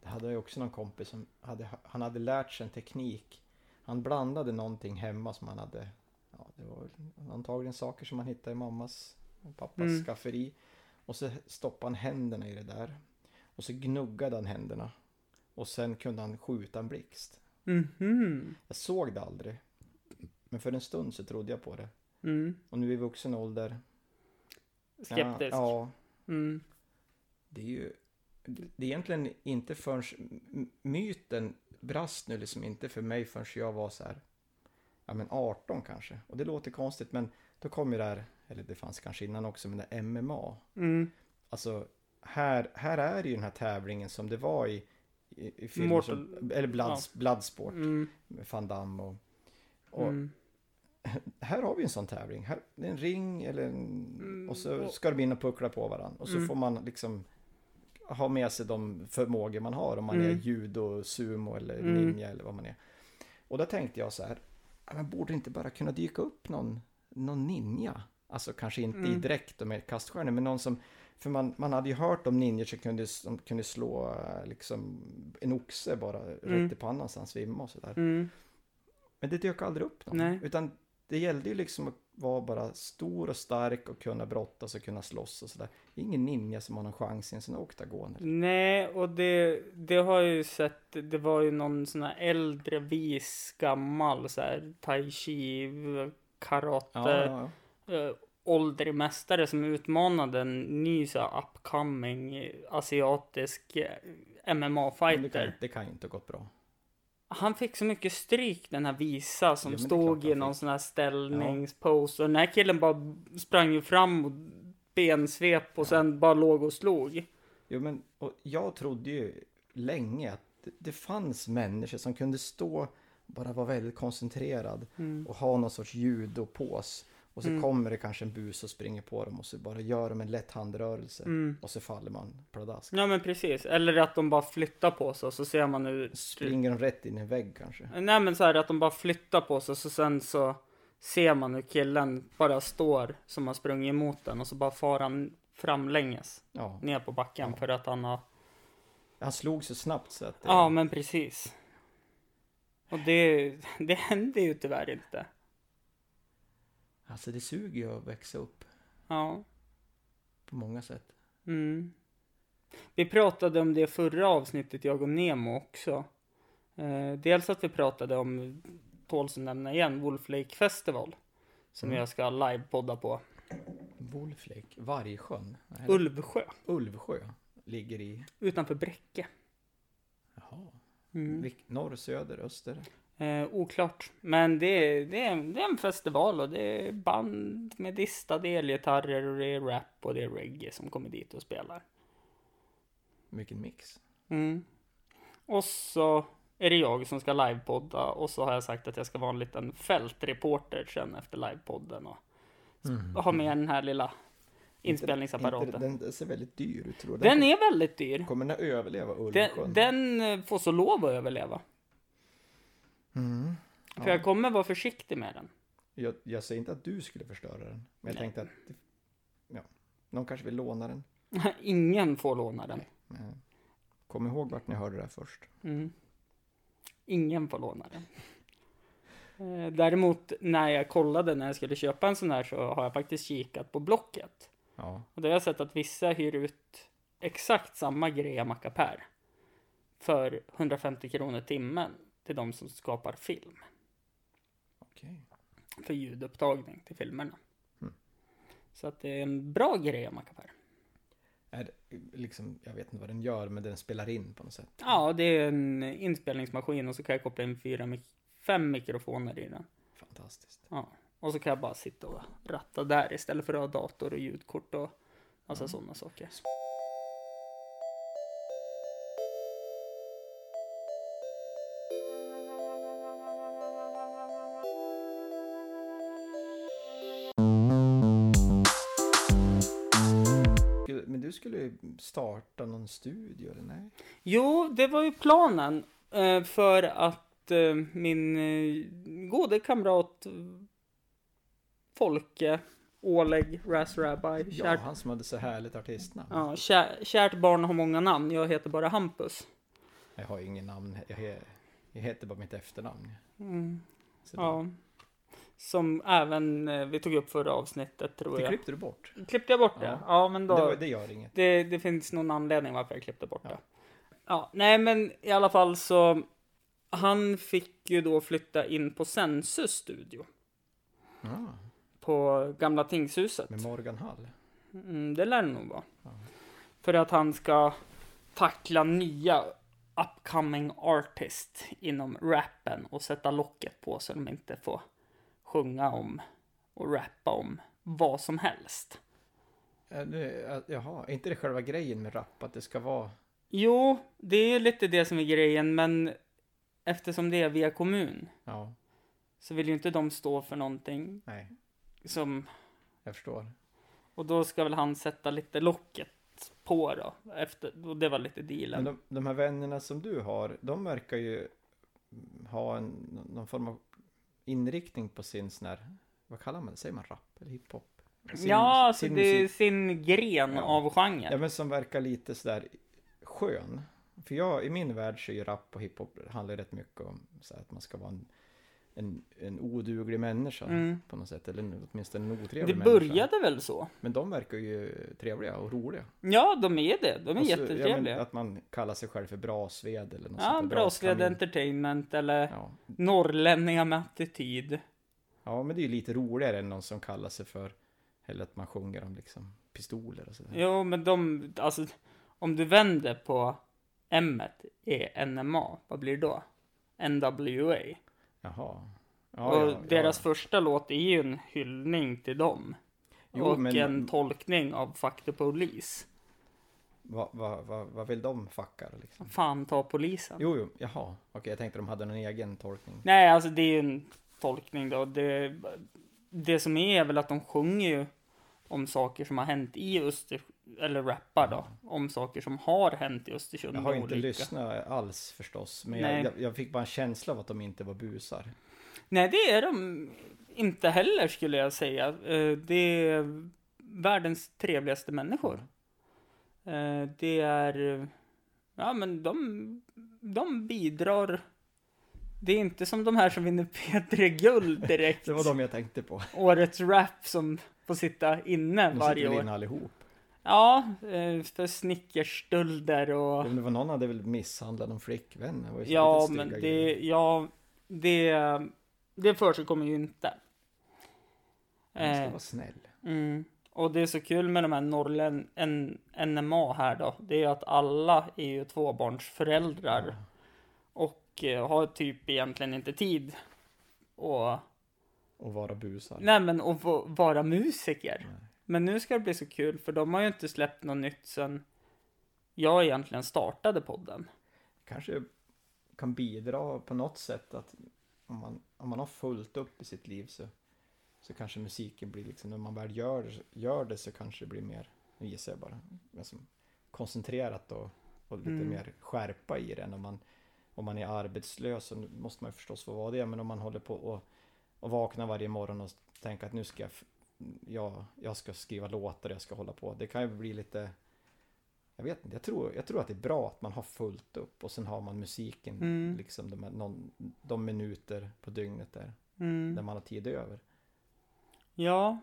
Speaker 2: Det hade jag ju också någon kompis som hade, han hade lärt sig en teknik. Han blandade någonting hemma som han hade, ja det var väl antagligen saker som han hittade i mammas och pappas
Speaker 1: Mm.
Speaker 2: skafferi. Och så stoppade han händerna i det där. Och så gnuggade han händerna. Och sen kunde han skjuta en blixt.
Speaker 1: Mhm.
Speaker 2: Jag såg det aldrig. Men för en stund så trodde jag på det.
Speaker 1: Mm.
Speaker 2: Och nu i vuxen ålder.
Speaker 1: Skeptisk.
Speaker 2: Ja, ja
Speaker 1: Mm.
Speaker 2: Det är ju det är egentligen inte förrän m- myten brast nu liksom inte för mig förrän jag var så här ja men 18 kanske och det låter konstigt men då kom ju det här eller det fanns kanske innan också men det här MMA
Speaker 1: Mm.
Speaker 2: alltså här, här är det ju den här tävlingen som det var i i, i filmer som,
Speaker 1: Mortal-
Speaker 2: eller Bloods, Bloodsport
Speaker 1: Mm.
Speaker 2: med van Damme och, och
Speaker 1: Mm.
Speaker 2: [LAUGHS] här har vi en sån tävling. Här, det är en ring eller en,
Speaker 1: Mm,
Speaker 2: och så ska de in och puckla på varandra. Och så får man liksom ha med sig de förmågor man har. Om man
Speaker 1: Mm.
Speaker 2: är judo, sumo eller ninja eller vad man är. Och då tänkte jag så här. "Ja, Men borde det inte bara kunna dyka upp någon, någon ninja? Alltså kanske inte
Speaker 1: Mm.
Speaker 2: i direkt och med kaststjärnor, men någon som... För man, man hade ju hört om ninjor som kunde, som kunde slå eh, liksom, en oxe bara rätt i pannan så han svimmade och sådär.
Speaker 1: Mm.
Speaker 2: Men det dök aldrig upp någon.
Speaker 1: Nej.
Speaker 2: Utan det gällde ju liksom att vara bara stor och stark och kunna brottas och kunna slåss och sådär. Det är ingen ninja som har någon chans i en sån här oktagon. eller-
Speaker 1: Nej, och det, det har jag ju sett. Det var ju någon sån här äldre vis gammal så här tai chi karate
Speaker 2: Ja, ja, ja.
Speaker 1: eh, åldrig mästare som utmanade en ny så här, upcoming eh, asiatisk eh,
Speaker 2: Men det, kan,
Speaker 1: MMA-fighter.
Speaker 2: det kan ju inte ha gått bra.
Speaker 1: Han fick så mycket stryk den här Visa som
Speaker 2: Ja, men det är klart
Speaker 1: stod
Speaker 2: han
Speaker 1: i någon
Speaker 2: fick.
Speaker 1: sån här ställningspose. Och den här killen bara sprang ju fram och bensvep och sen bara låg och slog.
Speaker 2: Jo, men och jag trodde ju länge att det, det fanns människor som kunde stå bara vara väldigt koncentrerad
Speaker 1: Mm.
Speaker 2: och ha någon sorts ljud och pås. Och så kommer det kanske en bus och springer på dem och så bara gör de en lätt handrörelse
Speaker 1: Mm.
Speaker 2: och så faller man pladask.
Speaker 1: Ja men precis. Eller att de bara flyttar på sig och så ser man hur... Mm.
Speaker 2: Springer de rätt in i en vägg kanske.
Speaker 1: Nej men så här att de bara flyttar på sig så sen så ser man hur killen bara står som har sprungit emot den och så bara far han framlänges
Speaker 2: Ja.
Speaker 1: ner på backen för att han har...
Speaker 2: Han slog så snabbt så att... eh, det-
Speaker 1: Ja, men precis. Och det, [LAUGHS] det händer ju tyvärr inte.
Speaker 2: Alltså det suger ju att växa upp
Speaker 1: Ja.
Speaker 2: på många sätt.
Speaker 1: Mm. Vi pratade om det förra avsnittet, jag och Nemo också. Eh, dels att vi pratade om, tåls att nämna igen, Wolf Lake Festival. Som jag ska livepodda på.
Speaker 2: Wolflake, Vargsjön, Nej,
Speaker 1: Ulvsjö,
Speaker 2: Ulvsjö, ligger i...
Speaker 1: utanför Bräcke.
Speaker 2: Jaha.
Speaker 1: Mm.
Speaker 2: Vilk- Norr, söder, öster?
Speaker 1: Eh, oklart. Men det är, det, är en, det är en festival och det är band med distade elgitarrer och det är rap och det är reggae som kommer dit och spelar.
Speaker 2: Vilken mix.
Speaker 1: Mm. Och så är det jag som ska livepodda och så har jag sagt att jag ska vara en liten fältreporter sen efter livepodden och ha med den här lilla
Speaker 2: Mm. Inte-
Speaker 1: inspelningsapparaten.
Speaker 2: Den, den ser väldigt dyr ut tror jag.
Speaker 1: Den är väldigt dyr.
Speaker 2: Kommer den att överleva Ulvsjön?
Speaker 1: Den, den eh, får så lov att överleva.
Speaker 2: Mm.
Speaker 1: För jag kommer vara försiktig med den. [LAUGHS]
Speaker 2: Jag, jag säger inte att du skulle förstöra den,
Speaker 1: Nej.
Speaker 2: men jag tänkte att... Ja, någon kanske vill låna den.
Speaker 1: Ingen får låna den.
Speaker 2: Men Kom ihåg vart ni hörde det här först.
Speaker 1: Mm. Ingen får låna den. Eh, Däremot när jag kollade när jag skulle köpa en sån här så har jag faktiskt kikat på Blocket.
Speaker 2: Ja.
Speaker 1: Och då har jag sett att vissa hyr ut exakt samma grej mackapär för 150 kronor timmen till de som skapar film.
Speaker 2: Okej.
Speaker 1: För ljudupptagning till filmerna. Så att det är en bra grej mackapär.
Speaker 2: Är det, liksom, jag vet inte vad den gör, men den spelar in på något sätt.
Speaker 1: Ja, det är en inspelningsmaskin och så kan jag koppla in fyra, mik- fem mikrofoner i den.
Speaker 2: Fantastiskt.
Speaker 1: Ja. Och så kan jag bara sitta och ratta där istället för att ha dator och ljudkort och massa
Speaker 2: Mm.
Speaker 1: sådana saker.
Speaker 2: Skulle- Men du skulle ju starta någon studio, eller nej?
Speaker 1: Jo, det var ju planen. eh, För att eh, min eh, gode kamrat eh, Folke Oleg Raz Rabbi,
Speaker 2: Ja,
Speaker 1: kärt,
Speaker 2: han som hade så härligt artistnamn.
Speaker 1: ja, kä- kärt barn har många namn, jag heter bara Hampus.
Speaker 2: Jag har ingen namn, jag, he, jag heter bara mitt efternamn. Så det-
Speaker 1: Mm. Ja. Som även eh, vi tog upp förra avsnittet tror
Speaker 2: Det
Speaker 1: jag.
Speaker 2: klippte du bort.
Speaker 1: Klippte jag bort det?
Speaker 2: Ja.
Speaker 1: Ja, men
Speaker 2: Det,
Speaker 1: då...
Speaker 2: var- det gör inget.
Speaker 1: det, det finns någon anledning varför jag klippte bort det. Ja, nej men i alla fall så. Han fick ju då flytta in på Sensus studio.
Speaker 2: Ja,
Speaker 1: På gamla tingshuset.
Speaker 2: med Morgan Hall.
Speaker 1: Mm, det lär det nog vara. För att han ska tackla nya upcoming artist inom rappen och sätta locket på så de inte får sjunga om och rappa om vad som helst.
Speaker 2: Äh, nu, äh, Jaha, är inte det själva grejen med rap? Att det ska vara...
Speaker 1: Jo, det är lite det som är grejen, men eftersom det är via kommun
Speaker 2: Ja,
Speaker 1: så vill ju inte de stå för någonting
Speaker 2: nej,
Speaker 1: som...
Speaker 2: jag förstår.
Speaker 1: Och då ska väl han sätta lite locket på då, efter, och det var lite dealen.
Speaker 2: Men de, de här vännerna som du har, de verkar ju ha en, någon form av inriktning på sin sån här, vad kallar man det? Säger man rap eller hiphop? Sin-
Speaker 1: ja, alltså
Speaker 2: sin
Speaker 1: det är
Speaker 2: musik.
Speaker 1: sin gren
Speaker 2: Ja.
Speaker 1: av genre.
Speaker 2: Ja, men som verkar lite sådär skön. För jag, i min värld så är ju rap och hiphop handlar ju rätt mycket om så här, att man ska vara en, en, en oduglig människa
Speaker 1: Mm.
Speaker 2: på något sätt. Eller en- åtminstone en
Speaker 1: det
Speaker 2: otrevlig människa.
Speaker 1: började väl så?
Speaker 2: Men de verkar ju trevliga och roliga.
Speaker 1: Ja, de är det. De är
Speaker 2: Och så- ja, men
Speaker 1: jättetrevliga. Ja,
Speaker 2: Alltså, att man kallar sig själv för Brasved eller något där,
Speaker 1: Brasved
Speaker 2: Braskamin.
Speaker 1: Entertainment eller
Speaker 2: Ja.
Speaker 1: Norrlänningar med attityd.
Speaker 2: ja, men det är ju lite roligare än någon som kallar sig för, eller att man sjunger om liksom pistoler och sådär.
Speaker 1: Jo, men de, alltså om du vänder på M är NMA, vad blir det då? NWA.
Speaker 2: Jaha.
Speaker 1: och deras första låt är ju en hyllning till dem.
Speaker 2: Jo,
Speaker 1: och
Speaker 2: men-
Speaker 1: en tolkning av Fuck the Police.
Speaker 2: Vad va, va, vad vill de fuckar liksom?
Speaker 1: Fan ta polisen.
Speaker 2: Jo, jo, jaha. Okej, jag tänkte de hade någon egen tolkning.
Speaker 1: Nej, alltså det är ju en tolkning då. Det, det som är är väl att de sjunger ju om saker som har hänt i Östersund, eller rappar då, om saker som har hänt i Östersund.
Speaker 2: Jag har
Speaker 1: och
Speaker 2: inte
Speaker 1: olika.
Speaker 2: lyssnat alls förstås, men
Speaker 1: Nej.
Speaker 2: jag, jag, jag fick bara en känsla av att de inte var busar.
Speaker 1: Nej, det är de inte heller skulle jag säga. Eh, Det är världens trevligaste människor.
Speaker 2: Mm.
Speaker 1: Eh, Det är... eh, Ja, men de, de bidrar. Det är inte som de här som vinner P3 Guld
Speaker 2: [LAUGHS]
Speaker 1: direkt. [LAUGHS]
Speaker 2: Det var de jag tänkte på.
Speaker 1: Årets rap som får sitta inne
Speaker 2: De
Speaker 1: varje
Speaker 2: sitter väl
Speaker 1: år.
Speaker 2: inne allihop.
Speaker 1: Ja, eh, för snickerstölder och...
Speaker 2: Om det var någon hade väl misshandlat någon flickvän. Det var ju så
Speaker 1: Ja,
Speaker 2: lite
Speaker 1: men
Speaker 2: stygga
Speaker 1: det,
Speaker 2: grejer.
Speaker 1: ja, det, det försiggår ju inte.
Speaker 2: Man ska
Speaker 1: Eh,
Speaker 2: vara snäll.
Speaker 1: mm. Och det är så kul med de här norrlän, N- NMA här då, det är ju att alla är ju tvåbarnsföräldrar och eh, har typ egentligen inte tid och
Speaker 2: Och vara busar.
Speaker 1: Nej men att få vara musiker. Men nu ska det bli så kul för de har ju inte släppt något nytt sen jag egentligen startade podden.
Speaker 2: Kanske kan bidra på något sätt att om man, om man har fullt upp i sitt liv så, så kanske musiken blir liksom, när man väl gör, gör det så kanske det blir mer, nu gissar jag bara, men som koncentrerat och, och lite mer skärpa i den. Om man, om man är arbetslös så måste man ju förstås få vara det, men om man håller på och, och vaknar varje morgon och tänker att nu ska jag, f- jag, jag ska skriva låtar, jag ska hålla på. Det kan ju bli lite jag vet inte, jag tror, jag tror att det är bra att man har fullt upp och sen har man musiken
Speaker 1: Mm.
Speaker 2: liksom de, här- någon, de minuter på dygnet där,
Speaker 1: Mm.
Speaker 2: där man har tid över.
Speaker 1: Ja,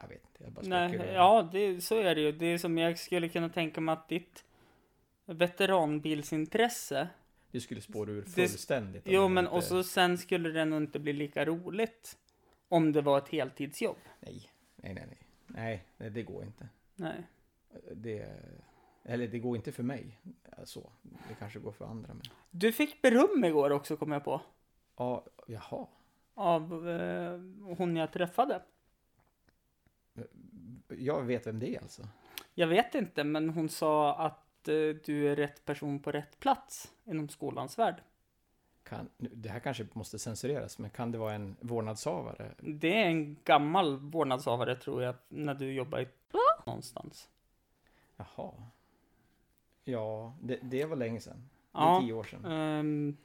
Speaker 2: Jag vet inte, jag bara
Speaker 1: nej,
Speaker 2: spekulerar.
Speaker 1: ja det, så är det ju. Det är som jag skulle kunna tänka mig att ditt veteranbilsintresse.
Speaker 2: Du skulle spåra ur
Speaker 1: Det-
Speaker 2: fullständigt. om
Speaker 1: Jo
Speaker 2: du
Speaker 1: men
Speaker 2: inte-
Speaker 1: och så sen skulle det nog inte bli lika roligt om det var ett heltidsjobb.
Speaker 2: Nej, nej, nej, nej. Nej, nej, det går inte.
Speaker 1: Nej.
Speaker 2: Det, eller det går inte för mig. Så, det kanske går för andra. Men...
Speaker 1: Du fick beröm igår också kom jag på.
Speaker 2: Ja, jaha.
Speaker 1: Av eh, hon jag träffade.
Speaker 2: Jag vet vem det är alltså.
Speaker 1: Jag vet inte, men hon sa att eh, du är rätt person på rätt plats inom skolans värld.
Speaker 2: Kan, nu, det här kanske måste censureras, men kan det vara en vårdnadshavare?
Speaker 1: Det är en gammal vårdnadshavare tror jag, när du jobbar i någonstans.
Speaker 2: Jaha. Ja, det, det var länge sedan. Det är
Speaker 1: Ja.
Speaker 2: tio år sedan.
Speaker 1: Ehm,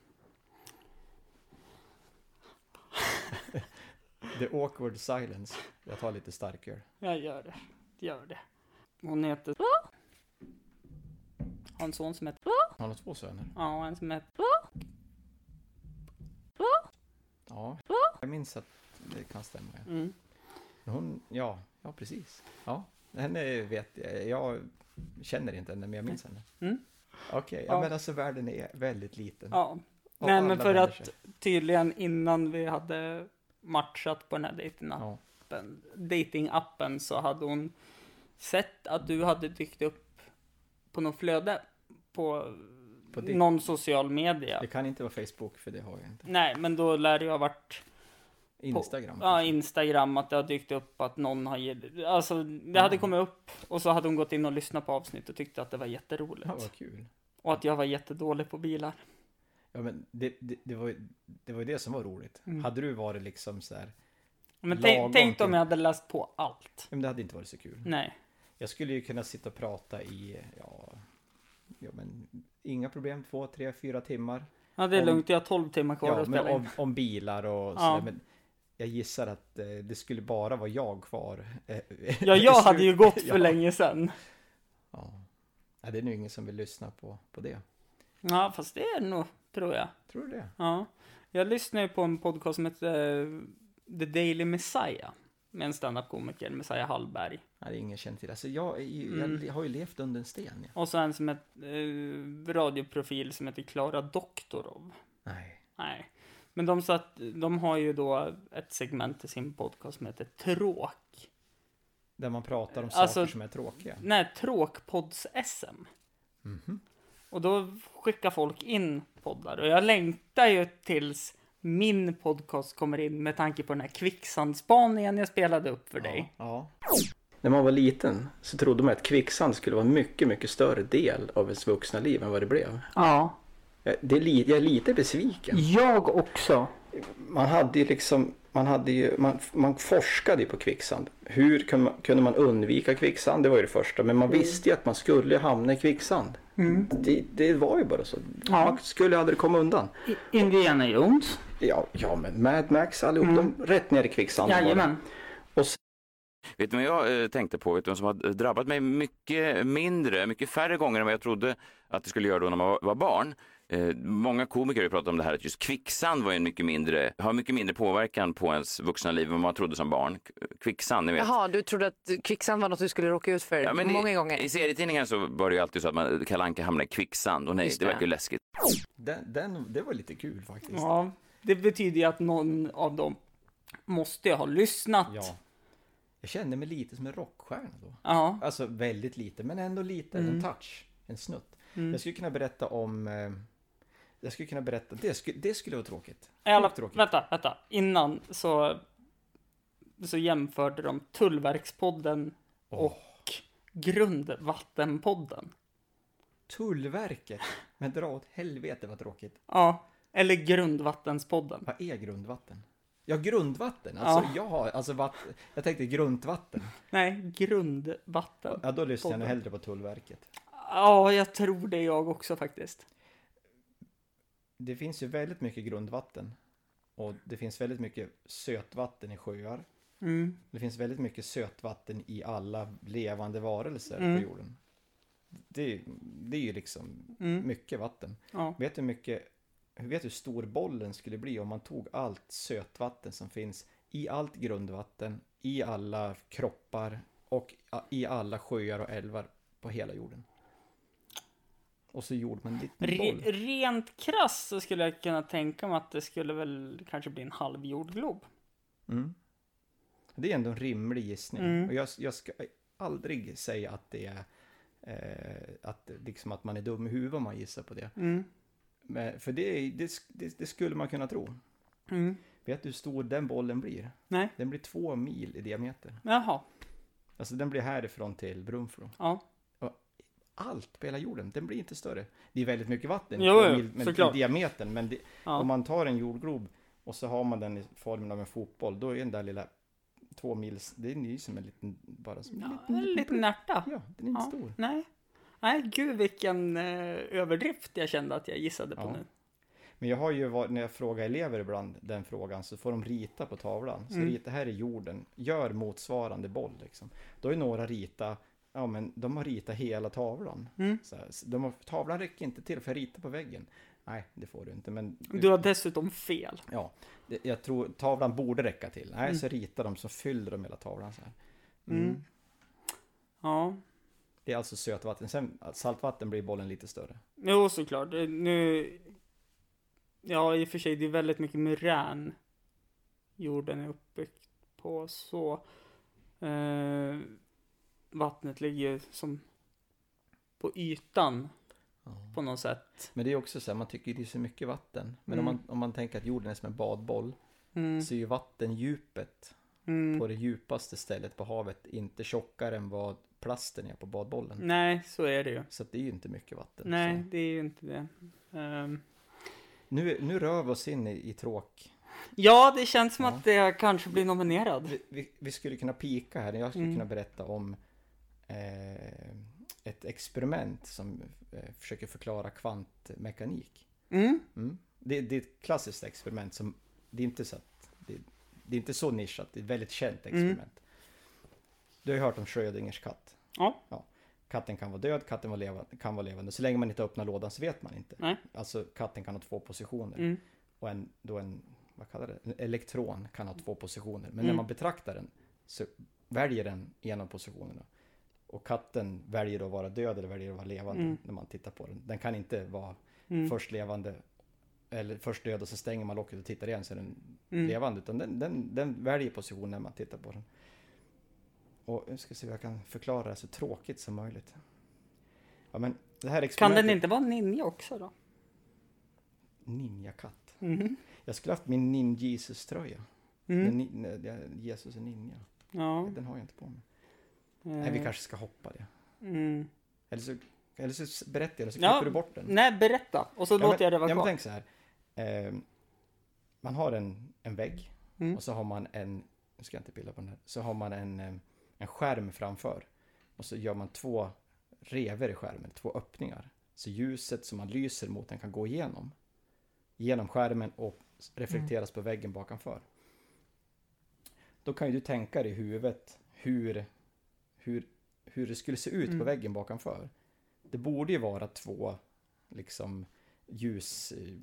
Speaker 2: The awkward silence. Jag tar lite starkare.
Speaker 1: jag gör det. Gör det. Hon heter... Har en son som heter...
Speaker 2: Har du två söner?
Speaker 1: Ja, och en som heter...
Speaker 2: Ja. Jag minns att det kan stämma. Ja.
Speaker 1: Mm.
Speaker 2: Men Hon, ja, ja precis. Ja, henne vet jag. Jag känner inte henne, men jag minns henne.
Speaker 1: Mm.
Speaker 2: Okej, ja,
Speaker 1: Ja.
Speaker 2: men alltså världen är väldigt liten.
Speaker 1: Ja.
Speaker 2: Och
Speaker 1: Nej,
Speaker 2: alla
Speaker 1: men för
Speaker 2: vänder sig.
Speaker 1: att tydligen innan vi hade matchat på den här dejtingappen,
Speaker 2: Ja.
Speaker 1: datingappen så hade hon sett att du hade dykt upp på något flöde på,
Speaker 2: På ditt-
Speaker 1: någon social media.
Speaker 2: Det kan inte vara Facebook, för det har jag inte.
Speaker 1: Nej, men då lär det ju ha varit på
Speaker 2: Instagram.
Speaker 1: ja, Instagram att det har dykt upp att någon har gett, alltså det hade kommit upp och så hade hon gått in och lyssnat på avsnitt och tyckte att det var jätteroligt
Speaker 2: ja, vad kul.
Speaker 1: och att jag var jättedålig på bilar.
Speaker 2: Ja, men det, det, det, var, ju- det var ju det som var roligt.
Speaker 1: Mm.
Speaker 2: Hade du varit liksom så här,
Speaker 1: Men tänk,
Speaker 2: Lagom
Speaker 1: tänk om
Speaker 2: till-
Speaker 1: jag hade läst på allt.
Speaker 2: men det hade inte varit så kul.
Speaker 1: Nej.
Speaker 2: Jag skulle ju kunna sitta och prata i, ja, ja men inga problem, två, tre, fyra timmar.
Speaker 1: Ja, det är
Speaker 2: Om-
Speaker 1: lugnt. Jag har 12 timmar kvar
Speaker 2: Ja,
Speaker 1: att
Speaker 2: men
Speaker 1: spela in.
Speaker 2: om, om bilar och sådär. Men jag gissar att eh, det skulle bara vara jag kvar. eh, [LAUGHS]
Speaker 1: Ja,
Speaker 2: i
Speaker 1: jag hade
Speaker 2: slut-
Speaker 1: ju gått för
Speaker 2: Ja.
Speaker 1: länge sedan.
Speaker 2: Ja. ja, det är nog ingen som vill lyssna på, på det.
Speaker 1: Ja, fast det är det nog, tror jag.
Speaker 2: Tror du det?
Speaker 1: Ja. Jag lyssnar ju på en podcast som heter eh, The Daily Messiah. Med en standup-komiker, Messiah Hallberg.
Speaker 2: Nej, det är ingen känd till. Alltså, jag, är ju,
Speaker 1: Mm.
Speaker 2: jag har ju levt under en sten. Ja.
Speaker 1: Och så en som heter, eh, radioprofil som heter Klara Doktorov.
Speaker 2: Nej.
Speaker 1: Nej. Men de, sa att, de har ju då ett segment i sin podcast som heter Tråk.
Speaker 2: Där man pratar om
Speaker 1: Alltså-
Speaker 2: saker som är tråkiga.
Speaker 1: Nej, Tråkpods-SM.
Speaker 7: Mhm.
Speaker 1: Och då skickar folk in poddar. Och jag längtar ju tills min podcast kommer in med tanke på den här kvicksandspaningen jag spelade upp för dig.
Speaker 2: Ja.
Speaker 7: När man var liten så trodde man att kvicksand skulle vara en mycket, mycket större del av ens vuxna liv än vad det blev.
Speaker 1: Ja,
Speaker 7: Jag, det är li, jag är lite besviken.
Speaker 1: jag också.
Speaker 7: Man hade ju liksom, man hade ju, man, man forskade ju på kvicksand. Hur kunde man, kunde man undvika kvicksand? Det var ju det första. Men man visste ju att man skulle hamna i kvicksand. Det, det var ju bara så. Man skulle aldrig komma undan.
Speaker 1: Indiana Jones.
Speaker 7: Ja, ja men Mad Max allihop, de rätt ner i kvicksanden. var det.
Speaker 1: Jajamän.
Speaker 8: Vet du vad jag eh, tänkte på? Vet du vad som har drabbat mig mycket mindre, mycket färre gånger än vad jag trodde att det skulle göra då när man var- var barn? Eh, många komiker har ju pratat om det här att just kvicksand var ju en mycket mindre, har mycket mindre påverkan på ens vuxna liv än vad man trodde som barn. K- eh, Kvicksand, ni vet.
Speaker 9: Jaha, du trodde att kvicksand var något du skulle råka ut för
Speaker 8: Ja, men i-
Speaker 9: många gånger.
Speaker 8: I serietidningar så var det ju alltid så att man, Kalle Anka hamnade i kvicksand och nej,
Speaker 9: Just
Speaker 8: det
Speaker 9: det.
Speaker 8: verkar ju läskigt.
Speaker 2: Den, den, det var lite kul faktiskt.
Speaker 1: Ja, det betyder ju att någon av dem måste ju ha lyssnat.
Speaker 2: Ja. Jag kände mig lite som en rockstjärna då.
Speaker 1: Ja.
Speaker 2: Alltså väldigt lite, men ändå lite. En touch. En snutt. Jag skulle kunna berätta om... eh, Jag skulle kunna berätta... Det skulle, det skulle vara tråkigt.
Speaker 1: I alla,
Speaker 2: Sjukt tråkigt.
Speaker 1: vänta, vänta. Innan så, så jämförde de Tullverkspodden och Grundvattenpodden.
Speaker 2: [LAUGHS] Tullverket! Men dra åt helvete vad tråkigt.
Speaker 1: Ja, eller Grundvattenspodden.
Speaker 2: Vad är grundvatten? Ja, grundvatten. Alltså, ja, alltså vatt... Jag tänkte grundvatten.
Speaker 1: Nej, Grundvatten.
Speaker 2: Ja, då lyssnar jag nog hellre på Tullverket.
Speaker 1: Ja, jag tror det jag också faktiskt.
Speaker 2: Det finns ju väldigt mycket grundvatten. Och det finns väldigt mycket sötvatten i sjöar.
Speaker 1: Mm.
Speaker 2: Det finns väldigt mycket sötvatten i alla levande varelser
Speaker 1: Mm.
Speaker 2: på jorden. Det, det är ju liksom mycket vatten.
Speaker 1: Mm. Ja.
Speaker 2: Vet du hur mycket, vet du hur stor bollen skulle bli om man tog allt sötvatten som finns i allt grundvatten, i alla kroppar och i alla sjöar och älvar på hela jorden? Och så gjorde man en liten
Speaker 1: Re-
Speaker 2: boll.
Speaker 1: rent krass så skulle jag kunna tänka mig att det skulle väl kanske bli en halv jordglob.
Speaker 2: Det är ändå en rimlig gissning.
Speaker 1: Mm.
Speaker 2: Och jag, jag ska aldrig säga att det är eh, att, liksom att man är dum i huvudet om man gissar på det. Men, för det, är- det, sk- det, det skulle man kunna tro.
Speaker 1: Mm.
Speaker 2: Vet du hur stor den bollen blir?
Speaker 1: Nej,
Speaker 2: Den blir två mil i diameter.
Speaker 1: jaha.
Speaker 2: Alltså den blir härifrån till Brunflo.
Speaker 1: Ja.
Speaker 2: Allt på hela jorden, den blir inte större. Det är väldigt mycket vatten
Speaker 1: Jo,
Speaker 2: två
Speaker 1: jo,
Speaker 2: mil, men, i
Speaker 1: såklart.
Speaker 2: diametern. Men det,
Speaker 1: Ja.
Speaker 2: om man tar en jordglob och så har man den i formen av en fotboll, då är den där lilla två mils, det är ju som en liten, bara som en
Speaker 1: ja
Speaker 2: liten,
Speaker 1: en liten ärta.
Speaker 2: ja, den är inte
Speaker 1: Ja,
Speaker 2: stor.
Speaker 1: Nej. Nej, gud vilken eh, överdrift jag kände att jag gissade på
Speaker 2: Ja.
Speaker 1: nu.
Speaker 2: Men jag har ju varit, när jag frågar elever ibland den frågan så får de rita på tavlan.
Speaker 1: Mm.
Speaker 2: Så rita, här är jorden, gör motsvarande boll liksom. Då är några rita, ja men de har ritat hela tavlan.
Speaker 1: Mm.
Speaker 2: Så här, så de har, tavlan räcker inte till för att rita på väggen. Nej, det får du inte. Men
Speaker 1: Du har dessutom fel.
Speaker 2: ja, det, jag tror tavlan borde räcka till.
Speaker 1: Mm.
Speaker 2: Nej, så ritar de så fyller de hela tavlan så här. Mm.
Speaker 1: Ja.
Speaker 2: Det är alltså sötvatten. Sen saltvatten blir bollen lite större.
Speaker 1: Jo, såklart. Eh, Nu... Ja, i och för sig, det är väldigt mycket murän jorden är uppbyggd på, så... Eh, vattnet ligger ju som på ytan på något sätt.
Speaker 2: Men det är också så här, man tycker det är så mycket vatten. Men
Speaker 1: Mm.
Speaker 2: om, man, om man tänker att jorden är som en badboll så är ju vattendjupet
Speaker 1: Mm,
Speaker 2: på det djupaste stället på havet inte tjockare än vad plasten är på badbollen.
Speaker 1: Nej, så är det ju.
Speaker 2: Så att det är ju inte mycket vatten.
Speaker 1: Nej,
Speaker 2: Så.
Speaker 1: det är ju inte det. Ehm,
Speaker 2: Nu, nu rör vi oss in i, i tråk.
Speaker 1: ja, det känns som att jag kanske blir nominerad.
Speaker 2: Vi, vi, vi skulle kunna pika här. Jag skulle
Speaker 1: Mm.
Speaker 2: kunna berätta om eh, ett experiment som eh, försöker förklara kvantmekanik.
Speaker 1: Mm.
Speaker 2: Mm. Det, det är ett klassiskt experiment som det är inte så att, det, det är inte så nischat, det är ett väldigt känt
Speaker 1: Mm.
Speaker 2: experiment. Du har ju hört om Schrödingers katt.
Speaker 1: Ja.
Speaker 2: Ja. Katten kan vara död, katten var leva, kan vara levande. Så länge man inte öppnar lådan så vet man inte.
Speaker 1: Nej. Mm.
Speaker 2: Alltså katten kan ha två positioner. Och en, då en, vad kallar det, en elektron kan ha två positioner. Men
Speaker 1: Mm.
Speaker 2: när man betraktar den så väljer den en av positionerna. Och katten väljer då att vara död eller väljer att vara levande
Speaker 1: Mm.
Speaker 2: när man tittar på den. Den kan inte vara först levande eller först död och så stänger man locket och tittar igen så är den
Speaker 1: Mm.
Speaker 2: levande. Utan den, den, den väljer position när man tittar på den. Och jag ska se hur jag kan förklara det så tråkigt som möjligt. Ja, men det här
Speaker 1: Kan
Speaker 2: experimentet...
Speaker 1: den inte vara ninja också då?
Speaker 2: Ninjakatt.
Speaker 1: Mhm.
Speaker 2: Jag skulle haft min Ninj-Jesus-tröja. Men ni- nej, det- Jesus är ninja.
Speaker 1: Ja.
Speaker 2: Den har jag inte på mig. Nej, vi kanske ska hoppa det.
Speaker 1: Mm.
Speaker 2: Eller så, eller så berättar jag eller så klipper
Speaker 1: Ja,
Speaker 2: du bort den.
Speaker 1: Nej, berätta. Och så
Speaker 2: Ja,
Speaker 1: låter
Speaker 2: men-
Speaker 1: jag det vara
Speaker 2: ja, men
Speaker 1: kvar.
Speaker 2: tänk så här. Eh, man har en, en vägg och så har man en, nu ska jag inte pilla på den här, så har man en, eh, en skärm framför. Och så gör man två revor i skärmen, två öppningar. Så ljuset som man lyser mot den kan gå igenom. Genom skärmen och reflekteras på väggen bakanför. Då kan ju du tänka dig i huvudet hur, hur, hur det skulle se ut på väggen bakanför. Det borde ju vara två liksom ljus eh,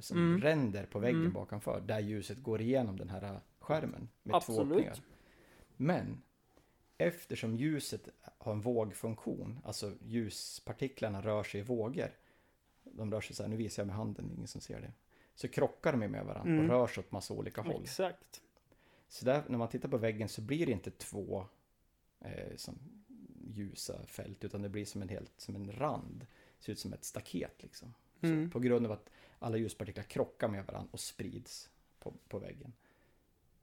Speaker 2: som ränder på väggen bakanför där ljuset går igenom den här eh, skärmen med två
Speaker 1: Absolut.
Speaker 2: öppningar. Men eftersom ljuset har en vågfunktion, alltså ljuspartiklarna rör sig i vågor. De rör sig så här, nu visar jag med handen, ingen som ser det. Så krockar de ju med varandra och rör sig åt massa olika håll.
Speaker 1: Exakt.
Speaker 2: Så där, när man tittar på väggen så blir det inte två eh, som ljusa fält utan det blir som en, helt, som en rand. Ser ut som ett staket liksom. Så På grund av att alla ljuspartiklar krockar med varandra och sprids på, på väggen.